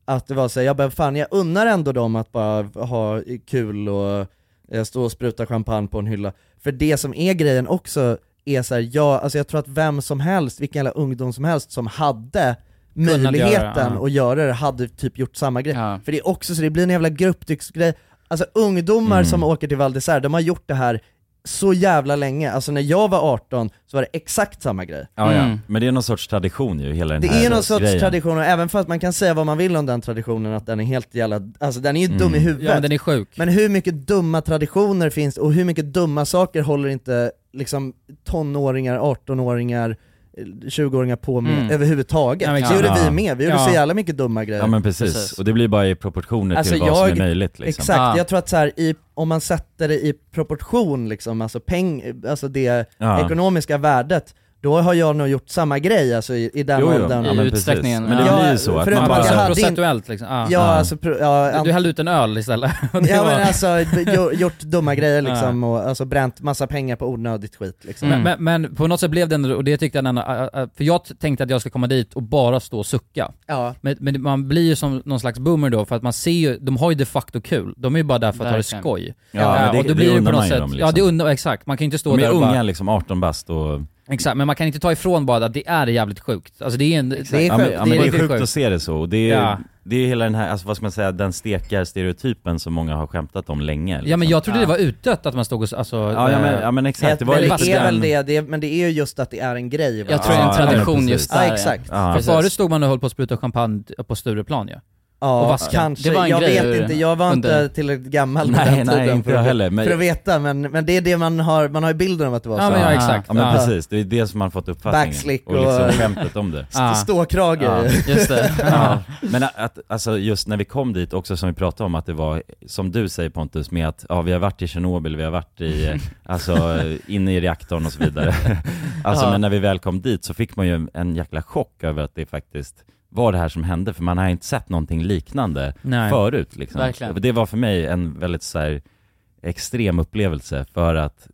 S5: att det var så här, jag bara fan jag unnar ändå dem att bara ha kul och eh, stå och spruta champagne på en hylla. För det som är grejen också är så här, ja, alltså jag tror att vem som helst, vilken jävla ungdom som helst som hade
S3: Kunnat göra,
S5: möjligheten
S3: ja.
S5: att göra det hade typ gjort samma grej. För det är också så, det blir en jävla grupptrycksgrej. Alltså ungdomar
S3: Mm.
S5: som åker till Val d'Isère, de har gjort det här så jävla länge. Alltså när jag var 18 så var det exakt samma grej.
S6: Ja, ja. Men det är någon sorts tradition ju, hela den
S5: Mm. Det
S6: här
S5: är någon sorts
S6: grejen.
S5: tradition, och även fast man kan säga vad man vill om den traditionen, att den är helt jävla, alltså den är ju
S6: Mm.
S5: dum i huvudet.
S3: Ja, men den är sjuk.
S5: Men hur mycket dumma traditioner finns och hur mycket dumma saker håller inte liksom tonåringar, 18-åringar, 20-åringar på med
S6: Mm.
S5: överhuvudtaget?
S6: Ja, men
S5: det gjorde
S6: exakt.
S5: vi med, vi gjorde
S6: Ja.
S5: så jävla mycket dumma grejer.
S6: Ja men precis. och det blir bara i proportioner till vad som är möjligt liksom.
S5: Alltså, Exakt,
S3: Ah.
S5: jag tror att så här, i, om man sätter det i proportion liksom, alltså, peng, alltså det
S6: Ja.
S5: ekonomiska värdet, då då har jag nog gjort samma grej alltså i, i den
S6: Jo, jo.
S5: åldern.
S6: Ja, men I precis. utsträckningen, Men det ja. blir ju så att
S5: förutom
S6: man
S5: att jag
S6: bara-
S5: hade in-
S3: Procentuellt liksom. Ah.
S5: Ja,
S3: Ah.
S5: alltså, pro- ja,
S3: Du-
S5: an-
S3: Du hällde ut en Ah. öl istället. Och det
S5: Ja
S3: var-
S5: men alltså gjo- gjort dumma grejer liksom och alltså bränt massa pengar på onödigt skit liksom.
S6: Mm.
S3: Mm. Men, men, men på något sätt blev det ändå, och det tyckte jag ändå, ä- ä- för jag t- tänkte att jag skulle komma dit och bara stå och sucka.
S5: Ja.
S3: Men, men man blir ju som någon slags boomer då, för att man ser ju, de har ju de facto kul. De är ju bara där för att ha det
S6: Verkligen.
S3: skoj.
S6: Ja, men det-
S3: och då
S6: det
S3: blir på
S6: undrar
S3: något
S6: man ju
S3: sätt,
S6: dem liksom.
S3: Ja, det undrar, exakt. Man kan ju inte stå
S6: De är
S3: där och
S6: unga
S3: bara,
S6: liksom, 18 bast och...
S3: Exakt, men man kan inte ta ifrån bara att det är jävligt sjukt. Alltså det är en...
S6: Exakt. ja, men, ja, men det är sjukt att se det så. Och det är,
S3: Ja.
S6: det är hela den här, alltså, vad ska man säga, den stekarstereotypen som många har skämtat om länge. Liksom.
S3: Ja men jag trodde det var utdött att man stod och alltså...
S6: Ja, ja, men- ja, men exakt.
S3: eh,
S6: Det var ju
S5: men
S6: lite
S5: det är
S6: den-
S5: väl det, det, är- men det är ju just att det är en grej. va?
S3: Jag tror det är en tradition
S5: precis.
S3: just där.
S5: Ja, exakt.
S3: För förut stod man och höll på att spruta champagne på Stureplan ju.
S5: Ja,
S3: och vaska.
S5: kanske. jag vet inte, jag var inte tillräckligt gammal
S3: Nej,
S5: på den
S3: nej,
S5: tiden
S6: inte
S5: för,
S6: jag
S5: att-
S6: heller, men-
S5: för att veta, men, men det är det man har, man har ju bilden av att det var så.
S6: Ja, men precis. Det är det som man fått uppfattningen.
S5: Backslick
S6: och... liksom
S5: och-
S6: skämtet om det.
S3: Ah.
S5: St- ståkrage. Just det.
S6: ja. Men att, alltså just när vi kom dit också som vi pratade om att det var, som du säger Pontus, med att ja, vi har varit i Tjernobyl, vi har varit i, eh, alltså eh, inne i reaktorn och så vidare. Alltså
S2: Ja.
S6: men när vi väl kom dit så fick man ju en jäkla chock över att det faktiskt var det här som hände, för man har inte sett någonting liknande
S2: Nej.
S6: förut liksom.
S2: Verkligen.
S6: Och Det var för mig en väldigt så här, extrem upplevelse för att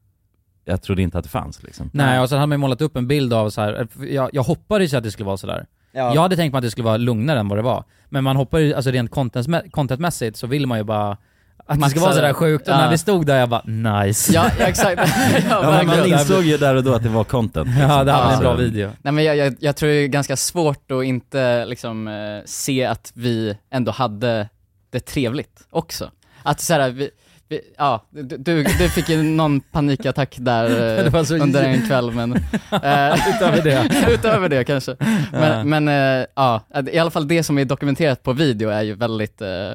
S6: jag trodde inte att det fanns liksom.
S3: Nej, och sen hade man ju målat upp en bild av så här. eh, jag, jag hoppades ju att det skulle vara sådär.
S5: Ja.
S3: Jag hade tänkt mig att det skulle vara lugnare än vad det var. Men man hoppar ju, alltså rent contentmä- contentmässigt så vill man ju bara att det
S4: Maxa
S3: ska vara
S4: det.
S3: sådär sjukt, och
S4: Ja.
S3: när vi stod där jag bara nice.
S4: Ja, ja, exakt. Ja,
S6: Ja, men man insåg ju där och då att det var content.
S3: Ja, det hade
S6: Alltså,
S3: en bra video.
S4: Nej men jag, jag, jag tror det är ganska svårt att inte liksom eh, se att vi ändå hade det trevligt också. Att så här, vi, vi, ja, du, du, du fick ju någon panikattack där eh,
S3: Det var så
S4: under
S3: jä-
S4: en kväll men... eh,
S3: Utöver det.
S4: utöver det kanske.
S3: Ja.
S4: Men, men eh, ja, att i alla fall det som är dokumenterat på video är ju väldigt eh,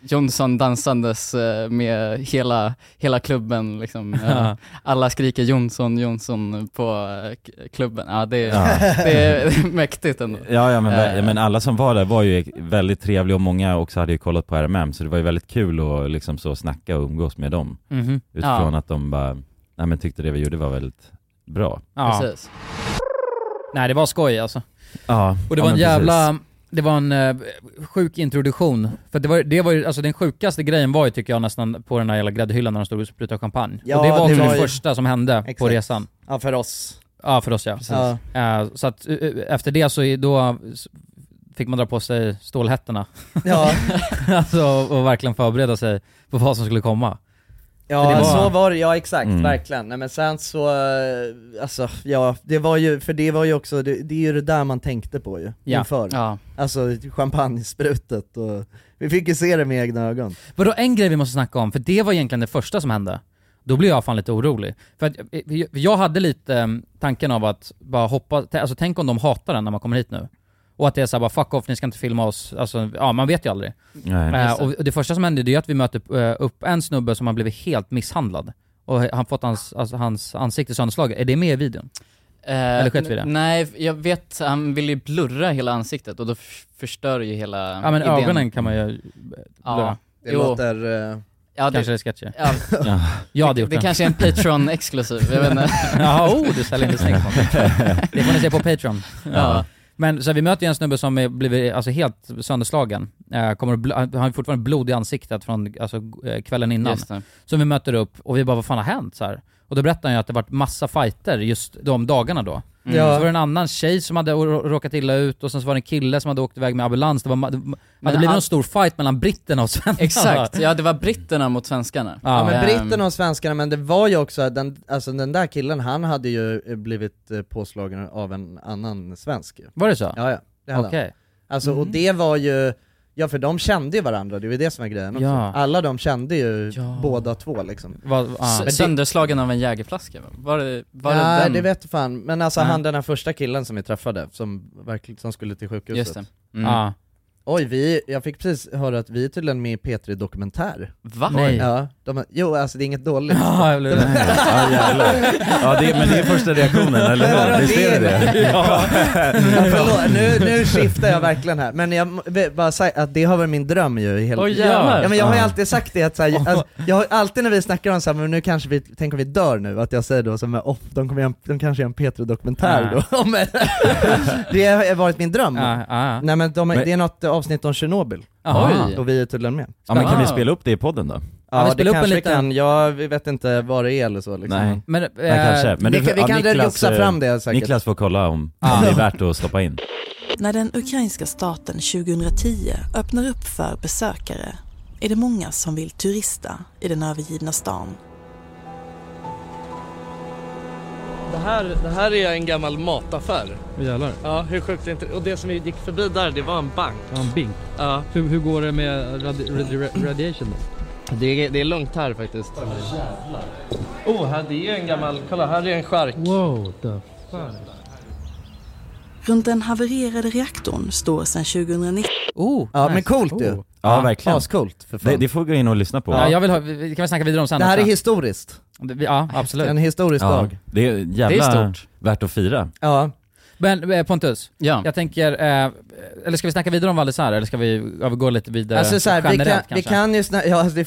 S4: Jonsson dansandes eh, med hela, hela klubben liksom. Eh,
S3: Ja.
S4: Alla skriker Jonsson, Jonsson på eh, k- klubben. Ja, det, är,
S6: Ja.
S4: det är mäktigt ändå.
S6: Ja, ja men,
S4: Eh,
S6: ja, men alla som var där var ju väldigt trevliga och många också hade ju kollat på RMM så det var ju väldigt kul att liksom så snacka och umgås med dem.
S3: Mhm.
S6: Utifrån
S3: Ja.
S6: att de bara, nej men tyckte det vi gjorde var väldigt bra.
S3: Ja. Precis. Nej, det var skoj alltså.
S6: Ja,
S3: Och det
S6: ja,
S3: var en
S6: men
S3: jävla, det var en eh, sjuk introduktion. För det var, det var ju, alltså den sjukaste grejen var ju tycker jag nästan på den här jävla gräddhyllan när de stod och sprutade champagne.
S5: Ja,
S3: och det var
S5: det
S3: också
S5: var
S3: det
S5: ju-
S3: första som hände på
S5: Exakt.
S3: resan.
S5: Ja, för oss.
S3: Ja, för oss ja.
S5: Precis. Ja.
S3: Eh, så att eh, eh, efter det så är- då eh, s- fick man dra på sig stålhättorna.
S5: Ja.
S3: alltså och verkligen förbereda sig på vad som skulle komma.
S5: Ja,
S3: För det
S5: så var det, ja exakt,
S3: Mm.
S5: verkligen. Nej, men sen så, eh, alltså ja, det var ju, för det var ju också, det, det är ju det där man tänkte på ju,
S3: Ja.
S5: inför.
S3: Ja.
S5: Alltså champagnesprutet och, vi fick ju se det med egna ögon.
S3: Vadå en grej vi måste snacka om, för det var egentligen det första som hände. Då blev jag fan lite orolig. För att eh, jag hade lite eh, tanken av att bara hoppa, t- alltså tänk om de hatar den när man kommer hit nu. Och att det är såhär bara fuck off, ni ska inte filma oss. Alltså, ja man vet ju aldrig.
S6: Nej.
S3: Eh,
S6: Just det.
S3: och och det första som hände det är att vi möter eh, upp en snubbe som har blivit helt misshandlad. Och han fått hans, alltså, hans ansikte sönderslaget. Är det med i videon? Eller sket vi i det?
S4: Eh, Nej, jag vet, han vill ju blurra hela ansiktet och då f- förstör ju hela
S3: Ja men
S4: idén.
S3: ögonen kan man ju eh, blurra.
S5: Det låter, eh,
S3: Kanske det är sketcher.
S4: Ja,
S3: Ja. Jag hade
S4: det,
S3: gjort
S4: det
S3: den.
S4: kanske är en Patreon-exklusiv, jag vet inte.
S3: Jaha, oh, du säljer inte snyggt. Pontus. Det får ni se på Patreon.
S4: Ja.
S3: Men så här, vi möter ju en snubbe som är blivit alltså, helt sönderslagen. Eh, kommer att bl- han har ju fortfarande blod i ansiktet från alltså, g- eh, kvällen innan.
S4: Just det.
S3: Som vi möter upp och vi bara, vad fan har hänt? Så här. Och då berättar han ju att det varit massa fighter just de dagarna då.
S4: Mm.
S3: Så
S4: Ja.
S3: var det en annan tjej som hade or- råkat illa ut och sen så var det en kille som hade åkt iväg med ambulans. Det var, ma- det hade blivit
S4: all-
S3: någon stor fight mellan britterna och svenskarna.
S4: Exakt, ja det var britterna mot svenskarna.
S5: Ja, men
S4: Ehm,
S5: britterna och svenskarna, men det var ju också, den, alltså den där killen han hade ju eh, blivit eh, påslagen av en annan svensk ju.
S3: Var det så?
S5: Ja, ja. Det hade
S3: Okej.
S5: han. Alltså,
S4: Mm.
S5: och det var ju, ja för de kände ju varandra, det var ju det som var grejen också.
S4: Ja.
S5: Alla de kände ju båda två liksom.
S4: S-
S5: Men det-
S4: Sönderslagen av en jägerflaska va? Var det, var det
S5: Nej
S4: den?
S5: det vet fan, men alltså
S4: Nej.
S5: han den här första killen som vi träffade, som, verkligen, som skulle till sjukhuset
S4: Just det. Mm.
S5: Ja. Oj, vi, jag fick precis höra att vi är tydligen med i P3 Dokumentär.
S4: Va?
S5: Nej.
S4: Nej.
S5: Ja, de, jo, alltså det är inget dåligt.
S3: Ja, jag blev
S5: De-
S3: rädd.
S6: Ja, jävlar. Ja, det- men det är första reaktionen, eller hur?
S5: Bara
S6: Visst är det det?
S5: Ja.
S6: Ja.
S5: Ja, förlåt, nu, nu skiftar jag verkligen här. Men jag må- vill bara säga att det har varit min dröm ju. i Hela...
S4: Oj, jävlar.
S5: ja, men jag har ju
S4: Ja.
S5: alltid sagt det att så här, alltså, jag har alltid när vi snackar om så här, men nu kanske vi, tänk om vi dör nu, att jag säger då som oh, de, kommer göra en, de kanske gör en P3 Dokumentär
S3: Ja.
S5: då. om det." det har varit min dröm.
S3: Ja, ja.
S5: Nej men, de,
S6: Men-
S5: det är något avsnitt om Tjernobyl.
S6: Oj.
S5: Och vi är tydligen med.
S6: Ja men kan vi spela upp det i podden då?
S5: Ja, det kanske vi kan, jag vet inte vad det är eller så liksom.
S6: Nej,
S5: men,
S3: Eh,
S6: Nej, kanske. Men
S5: vi,
S6: det-
S5: kan- vi
S6: ja,
S5: kan
S6: Niklas,
S5: joxa
S6: eh,
S5: fram det säkert.
S6: Niklas får kolla om, om det är värt att stoppa in.
S7: När den ukrainska staten 2010 öppnar upp för besökare är det många som vill turista i den övergivna stan.
S9: Det här, det här är en gammal mataffär.
S21: Åh, jävlar.
S9: Ja, hur sjukt är inte Och det som vi gick förbi där, det var en bank.
S21: Ja, en bink.
S9: Ja.
S21: Hur, hur går det med radi- radi- radiation då?
S9: Det är, det är lugnt här faktiskt. Oh, här, det är ju en gammal... Kolla, här är en skärk.
S21: Wow, the
S7: Runt den havererade reaktorn står sedan 2019...
S3: Oh,
S5: Ja men coolt ju.
S6: Ja verkligen.
S5: Ascoolt för fan.
S6: det, det får vi gå in och lyssna på.
S3: Ja, jag vill ha, vi- vi kan väl snacka vidare om sen
S5: Det här
S3: också.
S5: är historiskt.
S3: Det- Ja, absolut.
S5: En historisk
S6: Ja,
S5: dag.
S6: Det är jävla
S3: Det är stort.
S6: värt att fira.
S5: Ja.
S3: Men eh, Pontus, jag tänker, eh, eller ska vi snacka vidare om Val d'Isère eller ska vi övergå lite vidare
S5: Alltså så här, vi,
S3: generellt
S5: kan, vi
S3: kanske?
S5: kan ju snä- ja, alltså, det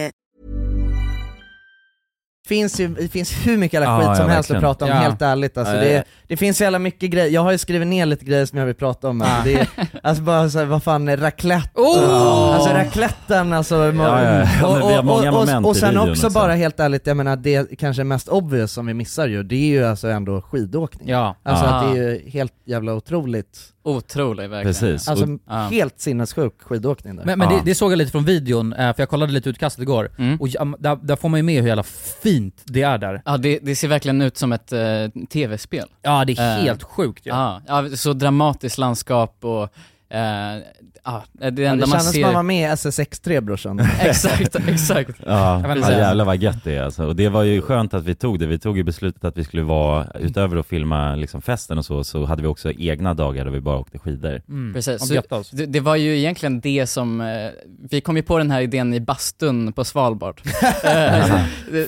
S5: finns ju det finns hur mycket jävla
S6: Ja,
S5: skit
S6: ja,
S5: som helst att
S6: verkligen.
S5: prata om,
S6: Ja.
S5: helt ärligt alltså,
S6: Ja, ja, ja.
S5: det, det finns så jävla mycket grejer, jag har ju skrivit ner lite grejer som jag vill prata om
S6: Ah.
S5: alltså, det är, alltså bara så här, vad fan, är raclette,
S6: Oh!
S5: alltså racletten alltså,
S6: ja, ja. Ja, men vi har många
S5: och,
S6: moment
S5: och, och
S6: i
S5: sen
S6: videon
S5: också
S6: också.
S5: bara helt ärligt, jag menar det kanske mest obvious som vi missar ju, det är ju alltså ändå skidåkning.
S4: Ja.
S5: Alltså
S4: Ja.
S6: Ah.
S5: att det är ju helt jävla otroligt.
S4: Otrolig verkligen.
S6: Precis.
S5: Alltså
S6: Och- Ja.
S5: helt sinnessjuk skidåkning där. Ah.
S3: Men, men det, det såg jag lite från videon, eh, för jag kollade lite utkastet igår, och ja, där, där får man ju med hur jävla fint det är där.
S4: Ja, det, det ser verkligen ut som ett eh, tv-spel.
S3: Ja, det är
S4: Eh,
S3: helt sjukt ju.
S4: Ja, ja, så dramatiskt landskap och... Eh, ja, det enda
S5: Ja, det
S4: man
S5: kändes
S4: ser... Eh,
S5: som man var med i SS63 brorsan.
S4: Exakt, exakt.
S6: Ja,
S4: Jag vet
S6: ja
S4: inte.
S6: jävlar vad gött det är alltså. Och det var ju skönt att vi tog det. Vi tog ju beslutet att vi skulle vara, utöver att filma liksom festen och så, så hade vi också egna dagar där vi bara åkte skidor.
S4: Precis. Så det, det var ju egentligen det som, eh, vi kom ju på den här idén i bastun på Svalbard.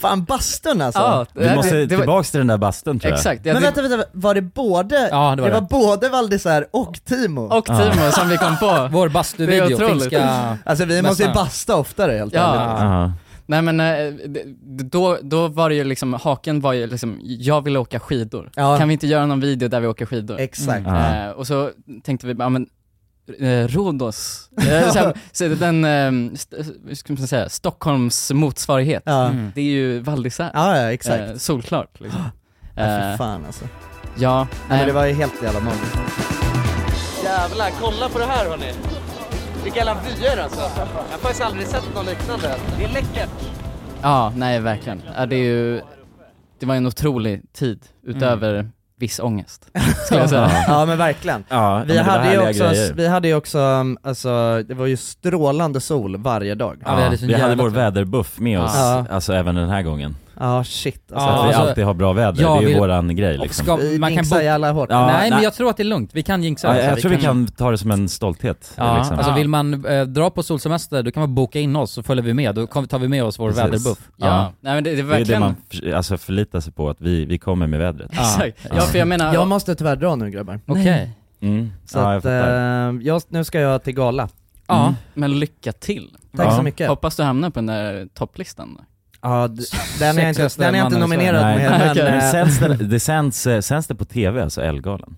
S5: Fan bastun alltså!
S4: Ja, det-
S6: Vi måste
S4: det- det var-
S6: tillbaks till den där bastun tror jag.
S4: Exakt, ja,
S5: men
S4: det-
S5: vänta, vänta, var det både,
S6: Ja,
S5: det
S6: det
S5: var,
S6: var
S5: både Val d'Isère och Timo?
S4: Och Timo som vi kom på.
S3: Vår
S4: bastuvideo, Det är otroligt. finska
S5: Alltså vi måste ju
S4: mästaren.
S5: basta oftare helt
S4: Ja.
S6: Mm.
S5: ärligt.
S4: Nej men eh, det- då, då var det ju liksom, haken var ju liksom, jag vill åka skidor.
S5: Ja.
S4: Kan vi inte göra någon video där vi åker skidor?
S5: Exakt.
S4: Eh, och så tänkte vi bara, men eh, Rhodos, Eh, så här, så är det den, eh, st- hur ska man säga, Stockholms motsvarighet.
S5: Ja.
S4: Mm. Det är ju Val d'Isère.
S5: Ja, ja, exakt.
S4: Eh, solklart liksom.
S5: Ja, för
S4: Eh,
S5: fan alltså.
S4: Ja,
S5: Nej, men det var ju helt jävla magiskt.
S9: Jävlar, kolla på det här hörni. Vilka jävla vyer alltså. Jag har faktiskt aldrig sett något liknande. Det är läckert.
S4: Ja, nej verkligen. Ja, det är ju, det var en otrolig tid utöver viss ångest, skulle jag säga.
S5: ja men verkligen.
S4: Ja, men
S5: vi,
S4: det var
S5: hade ju
S4: härliga
S5: också,
S4: grejer.
S5: vi hade ju också, um, alltså det var ju strålande sol varje dag.
S6: Ja, vi hade, vår väderbuff med oss,
S5: Ja.
S6: alltså även den här gången.
S5: Ja, shit, alltså,
S6: Så att vi alltid har bra väder,
S3: Ja,
S6: det är ju
S3: vi-
S6: våran grej
S3: och
S6: liksom.
S3: ska- man kan bo-
S6: Ja,
S3: nej, men jag tror att det är lugnt, vi kan jinxa
S6: Ja,
S3: det, så
S6: jag
S3: vi
S6: tror vi kan ta det som en stolthet.
S3: Ja,
S6: liksom.
S3: alltså vill man eh, dra på solsemester, då kan man boka in oss så följer vi med, då kom- tar vi med oss vår
S6: Precis.
S3: väderbuff.
S6: Ja.
S4: Nej, men det- det är
S6: det
S4: verkligen-
S6: man för- alltså, förlitar sig på, att vi, vi kommer med vädret.
S4: Exakt. Ja, för jag menar-
S5: Jag måste tyvärr dra nu grabbar.
S3: Okej.
S6: Mm.
S5: Så
S6: Ja, jag
S5: att,
S6: fattar.
S5: eh, jag, nu ska jag till gala.
S4: Ja,
S3: Mm.
S4: men lycka till.
S5: Tack så
S4: Ja.
S5: mycket.
S4: Hoppas du hamnar på den där topplistan.
S5: Ja, d- den är jag inte- den är jag inte nominerad
S6: Nej,
S5: med.
S6: men,
S5: Men,
S6: det,
S5: eh,
S6: sänds, den- det sänds, eh, sänds det på TV, alltså Ellegalan?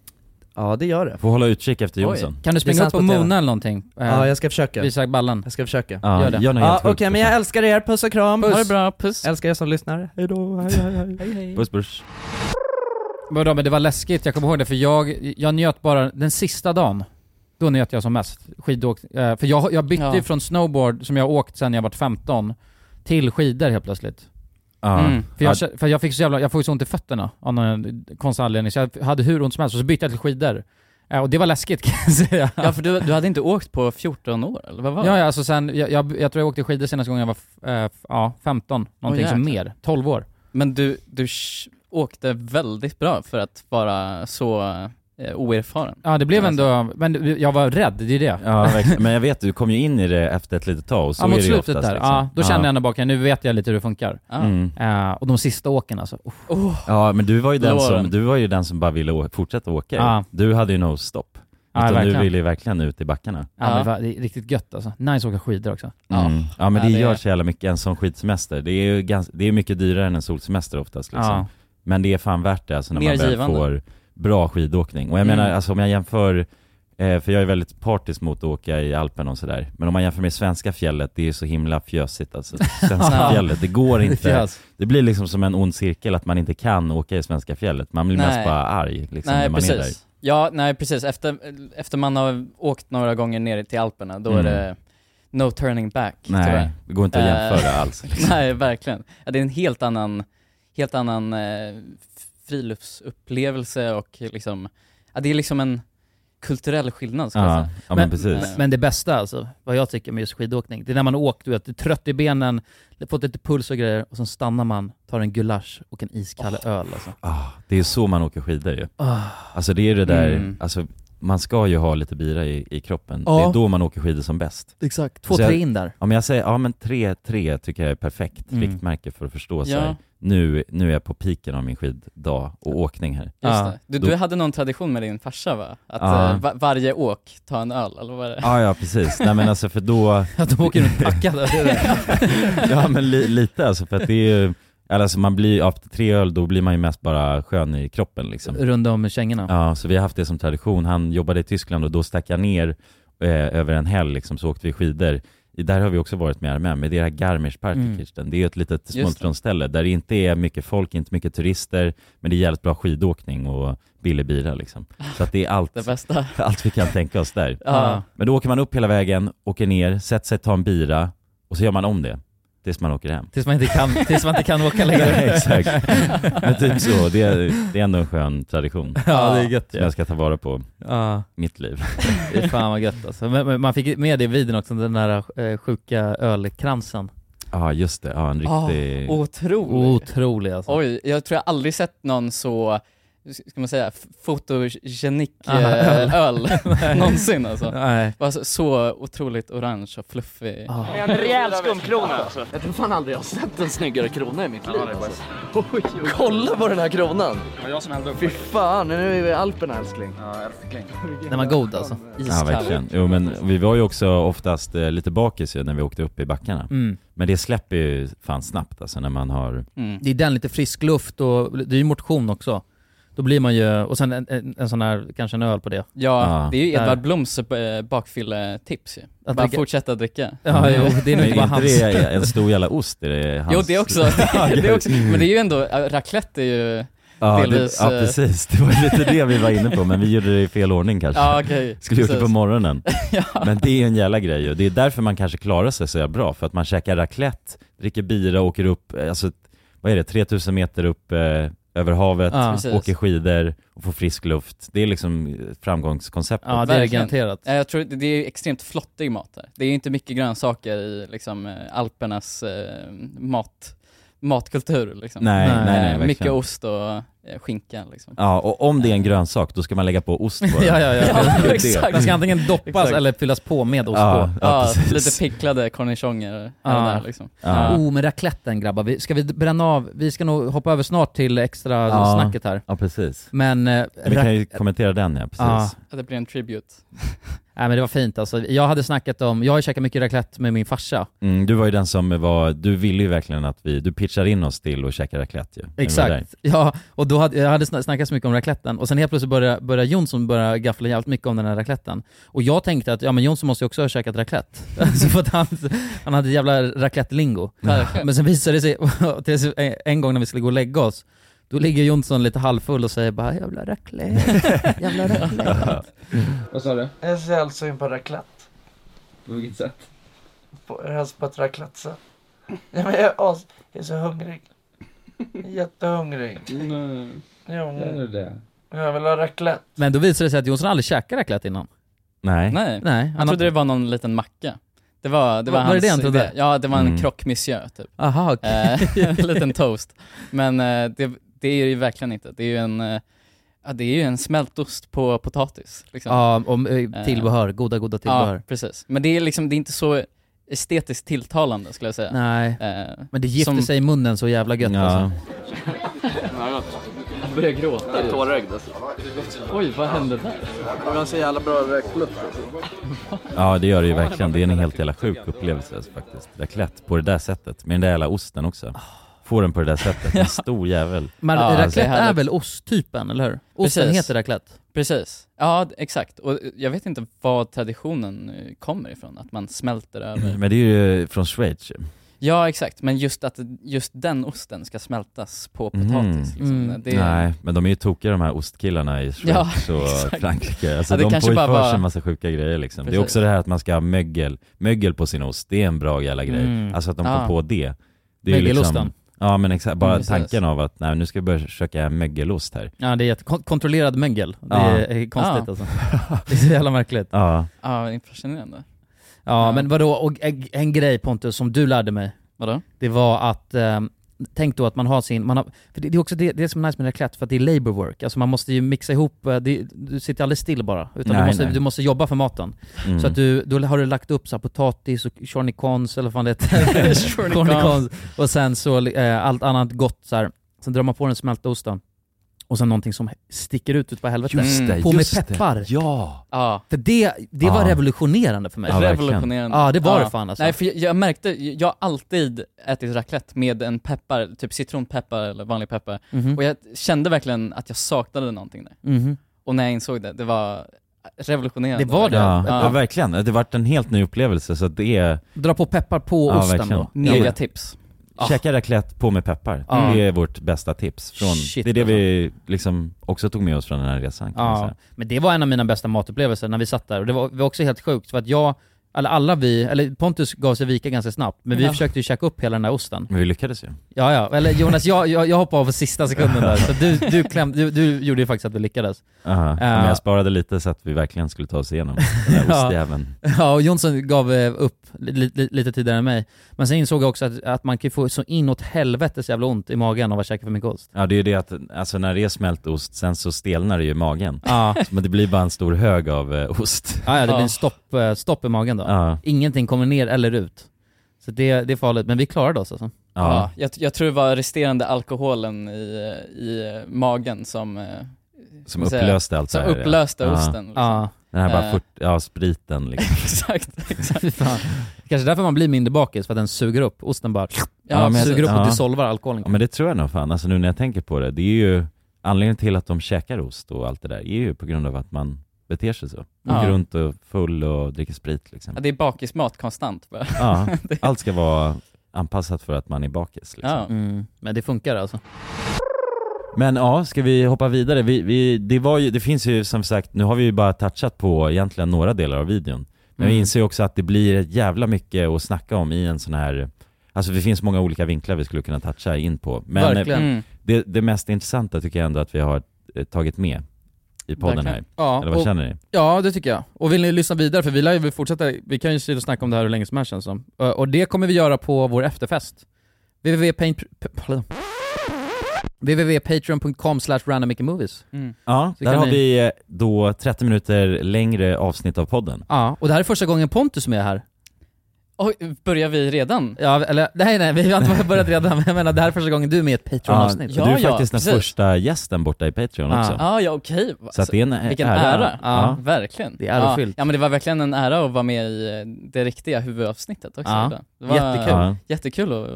S5: Ja det gör det.
S6: Får hålla utkik efter Jonsson.
S3: Kan du
S5: Det
S3: springa
S5: sänds
S3: upp och
S5: på TV.
S3: mona eller någonting? Eh,
S5: Ja, jag ska försöka.
S3: Visa ballen.
S5: Jag ska försöka.
S6: Ja,
S3: Gör det.
S6: gör något
S5: Ja,
S6: helt liksom.
S5: Okej
S6: sjukt.
S5: men jag älskar er, puss och kram.
S3: Puss. Ha det bra,
S5: puss. Älskar er som lyssnar. Hejdå, hej hej hej. hej, hej.
S6: Puss puss.
S3: Vadå, men det var läskigt, jag kommer ihåg det, för jag, jag njöt bara den sista dagen. Då njöt jag som mest. Skidåk, eh, för jag, jag bytte
S4: Ja.
S3: ju från snowboard, som jag har åkt sedan jag var 15, till skidor helt plötsligt.
S6: Ja.
S3: Mm. För, jag,
S6: Ja.
S3: för jag fick så jävla, jag får ju så ont i fötterna av någon konstig anledning, så jag hade hur ont som helst, och så bytte jag till skidor. Eh, Och det var läskigt kan jag säga.
S4: Ja, för du, du hade inte åkt på 14 år, eller vad var det?
S3: Ja, ja, alltså sen, jag, jag, jag tror jag åkte skidor senaste gången jag var f- eh, f- ja, 15, någonting
S4: Åh,
S3: som
S4: jäklar.
S3: mer. 12 år.
S4: Men du, du sh- åkte väldigt bra för att vara så eh, oerfaren.
S3: Ja, det blev ändå,
S4: alltså.
S3: men jag var rädd, det är det.
S6: Ja, verkligen. men jag vet, du kom ju in i det efter ett litet tag, och så
S3: ja,
S6: är det
S3: mot
S6: ju
S3: slutet
S6: oftast,
S3: där.
S6: liksom.
S3: Ja, då känner jag ändå bara, okej, nu vet jag lite hur det funkar.
S4: Ja.
S6: Mm.
S3: Eh, och de sista åken alltså. Oh.
S6: Ja men du var ju den
S3: Låren.
S6: som, du var ju den som bara ville å- fortsätta åka
S3: Ja.
S6: Du hade ju no stop.
S3: Ja,
S6: Utan du
S3: verkligen.
S6: ville ju verkligen ut i backarna.
S3: Ja, men va- det är riktigt gött alltså. Nice att åka skidor också.
S6: Mm. ja men
S3: Ja,
S6: det
S3: det-
S6: gör så jävla mycket, en sån skidsemester. Det är ju ganska, det är mycket dyrare än en solsemester oftast liksom.
S3: Ja.
S6: Men det är fan värt det alltså när
S3: Mer
S6: man väl
S3: givande.
S6: får bra skidåkning. Och jag
S3: Mm.
S6: menar, alltså om jag jämför, eh, för jag är väldigt partisk mot att åka i Alpen och sådär. Men om man jämför med svenska fjället, det är ju så himla fjösigt alltså. Svenska
S4: Ja.
S6: fjället, det går
S4: Det är
S6: inte.
S4: fjös.
S6: Det blir liksom som en ond cirkel att man inte kan åka i svenska fjället. Man blir mest
S4: Nej.
S6: bara arg liksom
S4: nej,
S6: när man
S4: precis.
S6: är där.
S4: Ja, nej precis. Efter, efter man har åkt några gånger ner till Alperna, då
S6: Mm.
S4: är det no turning back
S6: Nej,
S4: tyvärr.
S6: det går inte att
S4: Eh,
S6: jämföra alls. liksom.
S4: nej, verkligen. Ja, det är en helt annan, helt annan eh, f- friluftsupplevelse och liksom, ja, det är liksom en kulturell skillnad ska jag
S6: Ja,
S4: säga.
S6: ja men precis.
S3: Men, det bästa alltså, vad jag tycker med just skidåkning, det är när man har åkt, du vet, du är trött i benen, fått lite puls och grejer, och sen stannar man, tar en gulasch och en iskall öl alltså.
S6: Ah, det är så man åker skidor ju.
S3: Ah.
S6: Alltså det är det där,
S3: Mm.
S6: alltså man ska ju ha lite bira i, i kroppen.
S3: Ja.
S6: Det är då man åker skidor som bäst.
S3: Exakt. Två,
S6: Så jag-
S3: tre in där.
S6: Ja men jag säger, ja men tre, tre tycker jag är perfekt
S3: Mm.
S6: riktmärke för att förstå
S4: Ja.
S6: så här, nu, nu är jag på piken av min skiddag och åkning här. Just
S4: Just det. Du, du hade någon tradition med din farsa va? Att
S6: Ja.
S4: eh, va- varje åk ta en öl, eller vad är det?
S6: Ja, ja precis. Nej men alltså för då...
S3: Att de åker runt packade.
S6: ja men li, lite alltså för att det är ju, eller alltså man blir, efter tre öl då blir man ju mest bara skön i kroppen liksom.
S3: Runda om kängorna.
S6: Ja, så vi har haft det som tradition. Han jobbade i Tyskland och då stack jag ner eh, över en helg liksom, så åkte vi skidor. I- Där har vi också varit med Armén, men det är det här Garmisch-Partenkirchen.
S3: Mm.
S6: Det är ju ett litet
S4: det.
S6: smultronställe där det inte är mycket folk, inte mycket turister, men det är jävligt bra skidåkning och billig bira liksom. Så att det är allt,
S4: Det bästa.
S6: allt vi kan tänka oss där.
S4: Ja.
S6: Men då åker man upp hela vägen, åker ner, sätter sig, tar en bira och så gör man om det tills man åker hem.
S3: Tills man inte kan, tills man inte kan åka längre.
S6: Nej, exakt. Men typ så, det är, det är ändå en skön tradition.
S3: Ja, det är gött
S6: Som
S3: ju.
S6: jag ska ta vara på.
S3: Ja.
S6: Mitt liv.
S3: Det är fan vad gött alltså. Men, men man fick med det i videon också, den där eh, sjuka ölkransen.
S6: Ja just det, ja en riktig...
S4: Ah, otrolig.
S3: Otrolig alltså.
S4: Oj, jag tror jag aldrig sett någon så, ska man säga, f- fotogenik
S3: Ah,
S4: eh,
S3: öl.
S4: öl
S3: Nej.
S4: någonsin alltså.
S3: Nej.
S4: Var så- så otroligt orange och fluffig.
S9: En rejäl skumkrona alltså. Jag tror fan aldrig jag har sett en snyggare krona i mitt liv alltså. Oj, oj. Kolla på den här kronan! Det var jag som hällde upp Fy fan, nu är vi i Alperna älskling. Ja, älskling.
S3: Den var god alltså.
S6: Ja verkligen. Jo men vi var ju också oftast eh, lite bakis ju när vi åkte upp i backarna.
S3: Mm.
S6: Men det släpper ju fan snabbt alltså när man har...
S4: Mm.
S3: Det är den, lite frisk luft och det är ju motion också. Då blir man ju, och sen en, en, en sån här, kanske en öl på det.
S4: Ja, det är ju Edvard
S3: Där.
S4: Bloms eh, bakfylletips ju.
S3: Att
S4: Bara
S3: dricka-
S4: fortsätta dricka.
S3: Ja, jo, det är nog inte bara
S6: Men
S3: hans.
S6: inte det en stor jävla ost? Är det hans...
S4: Jo det är också, det är också, men det är ju ändå, äh, raclette är ju
S6: Ja, det,
S4: delvis...
S6: ja
S4: eh,
S6: precis, det var ju lite det vi var inne på men vi gjorde det i fel ordning kanske.
S4: Ja, okej.
S6: Skulle gjort det på
S4: Precis.
S6: morgonen.
S4: Ja.
S6: Men det är en jävla grej ju. Det är därför man kanske klarar sig så jävla bra, för att man käkar raclette, dricker bira, åker upp, eh, alltså vad är det, 3000 meter upp eh, över havet,
S3: Ja. Precis.
S6: åker skidor och får frisk luft. Det är liksom framgångskonceptet.
S4: Verkligen. Ja, Jag tror det det är extremt flottig mat där. Det är inte mycket grönsaker i liksom, eh, Alpernas eh, mat, matkultur. Liksom.
S6: Nej, nej, nej,
S4: Eh,
S6: verkligen.
S4: Mycket ost och eh, skinka. Liksom.
S6: Ja, och om det är en grönsak, då ska man lägga på ost på den.
S3: Ja, ja, ja.
S6: Det är det.
S3: exakt. Den ska antingen doppas
S4: Exakt.
S3: eller fyllas på med ost
S6: Ja,
S3: på.
S6: ja,
S4: Ja,
S6: precis.
S4: lite picklade cornichoner här och där liksom.
S3: Oh, men racletten grabbar. Vi, ska vi bränna av? Vi ska nog hoppa över snart till extra
S6: Ja.
S3: snacket här.
S6: Ja, precis.
S3: Men... eh,
S6: Vi kan ju
S3: rac-
S6: kommentera den, ja, precis.
S3: Ja.
S4: Ja, Det blir en tribute.
S3: Nej men det var fint alltså. Jag hade snackat om, jag har ju käkat mycket raclette med min farsa.
S6: Mm, du var ju den som var, du ville ju verkligen att vi, du pitchade in oss till och käka raclette ju. när vi var där.
S3: Exakt. Ja, och då hade, jag hade sna- snackat så mycket om racletten och sen helt plötsligt började, började Jonsson börja gaffla jävligt mycket om den här racletten. Och jag tänkte att ja men Jonsson måste ju också ha käkat raclette. alltså för att han, han hade jävla raclette-lingo.
S4: Verkligen.
S3: men sen visade det sig, till sig- en- en gång när vi skulle gå och lägga oss, då ligger Jonsson lite halvfull och säger bara jävla raclette, jävla raclette.
S9: Vad sa du? Jag ser alltså in på raclette. På vilket sätt? På, alltså på ett raclette ja, men jag, är as, jag är så hungrig. Jag är Jättehungrig. Nej. Jo.
S3: Är du
S9: det? Jag vill ha raclette.
S3: Men då visade det sig att Jonsson aldrig käkat raclette innan.
S6: Nej.
S4: Nej,
S3: Nej,
S4: jag trodde det var någon liten macka. Det var, det var,
S3: Var- var det
S4: hans
S3: det han trodde?
S4: idé. Ja, det var en
S3: Mm.
S4: croque monsieur typ.
S3: Aha, okej.
S4: Eh, en liten toast. Men eh, det, det är det ju verkligen inte. Det är ju en, eh, ja, det är ju en smältost på potatis. Liksom.
S3: Ja, om
S4: Eh,
S3: eh, tillbehör, goda goda tillbehör.
S4: Ja, precis. Men det är liksom, det är inte så estetiskt tilltalande skulle jag säga.
S3: Nej,
S4: Eh,
S3: men det gifter
S4: som-
S3: sig i munnen så jävla gött alltså.
S4: Jag börjar gråta.
S9: Jag är tårögd alltså.
S4: Oj, vad hände där?
S9: Jag har så jävla bra raclette alltså.
S6: Ja, det gör det ju verkligen. Det är en helt jävla sjuk upplevelse alltså, faktiskt. Raclette på det där sättet, med den där jävla osten också. Får den på det där sättet, en stor jävel.
S3: Men
S6: Ja, alltså,
S3: raclette är
S6: härligt.
S3: väl osttypen, eller hur? Osten
S4: Precis.
S3: heter raclette.
S4: Precis. Ja, d- exakt. Och eh, jag vet inte var traditionen eh, kommer ifrån, att man smälter över.
S6: Men det är ju från Schweiz ju.
S4: Ja, exakt. Men just att just den osten ska smältas på
S3: Mm.
S4: potatis.
S6: Mhm.
S4: Liksom. Det är,
S6: Nej, men de är ju tokiga de här ostkillarna i
S4: Ja,
S6: Schweiz och
S4: exakt.
S6: Frankrike. Alltså,
S4: Ja, det
S6: de
S4: kanske
S6: får ju
S4: bara
S6: för sig
S4: var-
S6: en massa sjuka grejer liksom. Det är
S4: Precis.
S6: också det här att man ska ha mögel, mögel på sin ost. Det är en bra jävla grej.
S4: Mm.
S6: Alltså att de
S4: Ja.
S6: kom på det. det är ju liksom-
S3: Mögelosten.
S6: ja men exakt, bara
S3: Mm, precis.
S6: tanken av att nej, nu ska vi börja försöka mögelost här.
S3: Ja, det är jätte- kon- kontrollerad mögel. Det
S6: Ja.
S3: är konstigt
S4: Ja.
S3: alltså. Det är så jävla märkligt.
S6: Ja.
S4: ja, det är fascinerande.
S3: Ja, men vadå, och en, en grej Pontus som du lärde mig.
S4: Vadå?
S3: Det var att, ehm, tänk då att man har sin, man har, för det, det är också det, det som är nice med raclette, för att det är labor work. Alltså man måste ju mixa ihop, eh, det, du sitter aldrig still bara, utan du,
S6: Nej,
S3: måste,
S6: nej.
S3: du måste jobba för maten.
S6: Mm.
S3: Så att du, då har du lagt upp så här, potatis och chornicons eller vad fan det heter. Chornicons. och sen så eh, allt annat gott så här. Sen drar man på den smälta osten. Och sen någonting som sticker ut ut på helvete.
S6: Just det,
S3: på med
S6: just det.
S3: peppar.
S6: Ja.
S4: Ja.
S3: För det, det var
S4: Ja.
S3: revolutionerande för mig.
S4: Ja, Revolutionerande.
S3: Ja, det var det fan alltså.
S4: Nej, för jag, jag märkte, jag har alltid ätit raclette med en peppar, typ citronpeppar eller vanlig peppar.
S3: Mhm.
S4: Och jag kände verkligen att jag saknade någonting där.
S3: Mhm.
S4: Och när jag insåg det, det var revolutionerande.
S6: Ja, ja. verkligen. Det vart en helt ny upplevelse så att det är...
S3: Dra på peppar på
S6: Ja,
S3: osten
S6: verkligen.
S3: då.
S6: Nya Ja.
S4: tips.
S6: Käka raclette på med peppar.
S3: Ja.
S6: Det är vårt bästa tips. Från,
S3: Shit,
S6: det är det vi liksom också tog med oss från den här resan kan man
S3: Ja,
S6: säga.
S3: men det var en av mina bästa matupplevelser när vi satt där och det var, det var också helt sjukt för att jag, eller alla vi, eller Pontus gav sig vika ganska snabbt, men vi
S6: Ja.
S3: försökte ju käka upp hela den där osten.
S6: Men vi lyckades ju.
S3: Ja, ja. Eller Jonas, jag, jag, jag hoppade av på sista sekunden där, så du, du, kläm, du, du gjorde ju faktiskt att vi lyckades.
S6: Aha.
S3: Eh,
S6: Men jag sparade lite så att vi verkligen skulle ta oss igenom den där ostjäveln.
S3: Ja, och Jonsson gav eh, upp li, li, lite tidigare än mig. Men sen insåg jag också att, att man kan ju få så inåt helvetes jävla ont i magen av att käka för mycket ost.
S6: Ja det är ju det att, alltså när det är smält ost, sen så stelnar det ju i magen.
S3: Ja.
S6: Men det blir bara en stor hög av eh, ost.
S3: Ja, ja det blir en stopp, eh, stopp i magen då.
S6: Ja.
S3: Ingenting kommer ner eller ut. Så det, det är farligt, men vi klarade oss alltså.
S4: Ja, jag, jag tror det var resterande alkoholen i, i magen som... eh, ska
S6: Som
S4: man säga,
S6: upplöste allt
S4: Som
S6: det här. ja.
S4: upplöste
S6: Ja.
S4: osten. liksom.
S6: Den här bara,
S4: Eh,
S6: fort, ja spriten liksom.
S4: Exakt, exakt.
S3: Fy fan. Kanske därför man blir mindre bakis, för att den suger upp, osten bara
S6: men jag-
S3: suger upp och
S6: ja.
S3: dissolvar alkoholen.
S6: Ja men det tror jag nog fan, alltså nu när jag tänker på det, det är ju anledningen till att de käkar ost och allt det där är ju på grund av att man beter sig så. Man
S4: Ja.
S6: går runt och full och dricker sprit liksom.
S4: Ja, det är bakismat konstant. bara.
S6: Ja,
S4: Det-
S6: allt ska vara anpassat för att man är bakis liksom.
S4: Ja.
S3: Men det funkar alltså.
S6: Men ja, ska vi hoppa vidare? Vi, vi, det, var ju, det finns ju som sagt, nu har vi ju bara touchat på egentligen några delar av videon. Men vi
S3: Mm.
S6: inser ju också att det blir jävla mycket att snacka om i en sån här Alltså det finns många olika vinklar vi skulle kunna toucha in på. Men
S3: Verkligen.
S6: eh,
S3: Mm.
S6: det, det mest intressanta tycker jag ändå att vi har eh, tagit med i podden
S3: Verkligen.
S6: här.
S3: Ja,
S6: Eller vad
S3: och,
S6: känner ni?
S3: Ja, det tycker jag. Och vill ni lyssna vidare, för vi lär ju väl fortsätta, vi kan ju sitta och snacka om det här hur länge som helst känns det som. Ö, Och det kommer vi göra på vår efterfest. www.patreon.com www.patreon.com slash randomicmovies.
S6: Ja,
S3: Så
S6: där
S3: kan
S6: har
S3: ni-
S6: vi eh, då 30 minuter längre avsnitt av podden.
S3: Ja, och det här är första gången Pontus är med här.
S4: Oj, börjar vi redan?
S3: Ja, eller nej nej, vi har inte börjat redan, men jag menar det här är första gången du är med i ett
S6: Ja,
S3: Patreon-avsnitt.
S6: du är faktiskt den första gästen borta i Patreon
S3: Ja.
S6: också.
S4: Ja, ja okej.
S6: Så att det är en ä-
S4: Vilken
S6: ära.
S4: ära.
S6: Ja.
S4: Ja. Verkligen.
S6: Det är ärofyllt.
S4: Ja. ja men det var verkligen en ära att vara med i eh, det riktiga huvudavsnittet också.
S3: Ja.
S4: idag. Det var
S3: Jättekul. Ja.
S4: Jättekul att eh,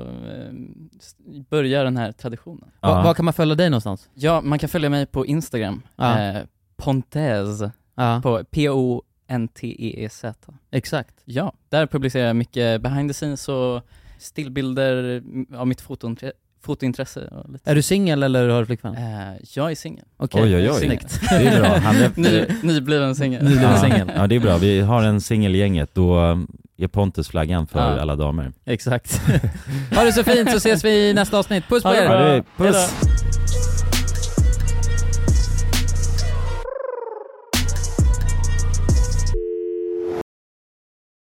S4: s- börja den här traditionen.
S3: Va- Ja. var kan man följa dig någonstans?
S4: Ja, man kan följa mig på Instagram.
S3: Ja.
S4: Eh, Pontez. På P-O-N-T-E-E-Z.
S3: Exakt.
S4: E Ja, där publicerar jag mycket behind the scenes och stillbilder av mitt fotointre- fotointresse. Och lite.
S3: Är du singel eller har du flickvän?
S4: Eh, jag är singel.
S3: Okej. Oj, oj, oj.
S4: Jag är singel.
S3: Snyggt. Det är bra. Han är-
S4: Ny, nybliven singel.
S6: ja. Ja, det är bra. Vi har en singelgänget. Då eh, är Pontus flaggan för
S3: Ja.
S6: alla damer.
S3: Exakt. ha det så fint så ses vi i nästa avsnitt. Puss på
S6: Ha det
S3: er!
S6: bra. Ja, det är- puss. Hej då.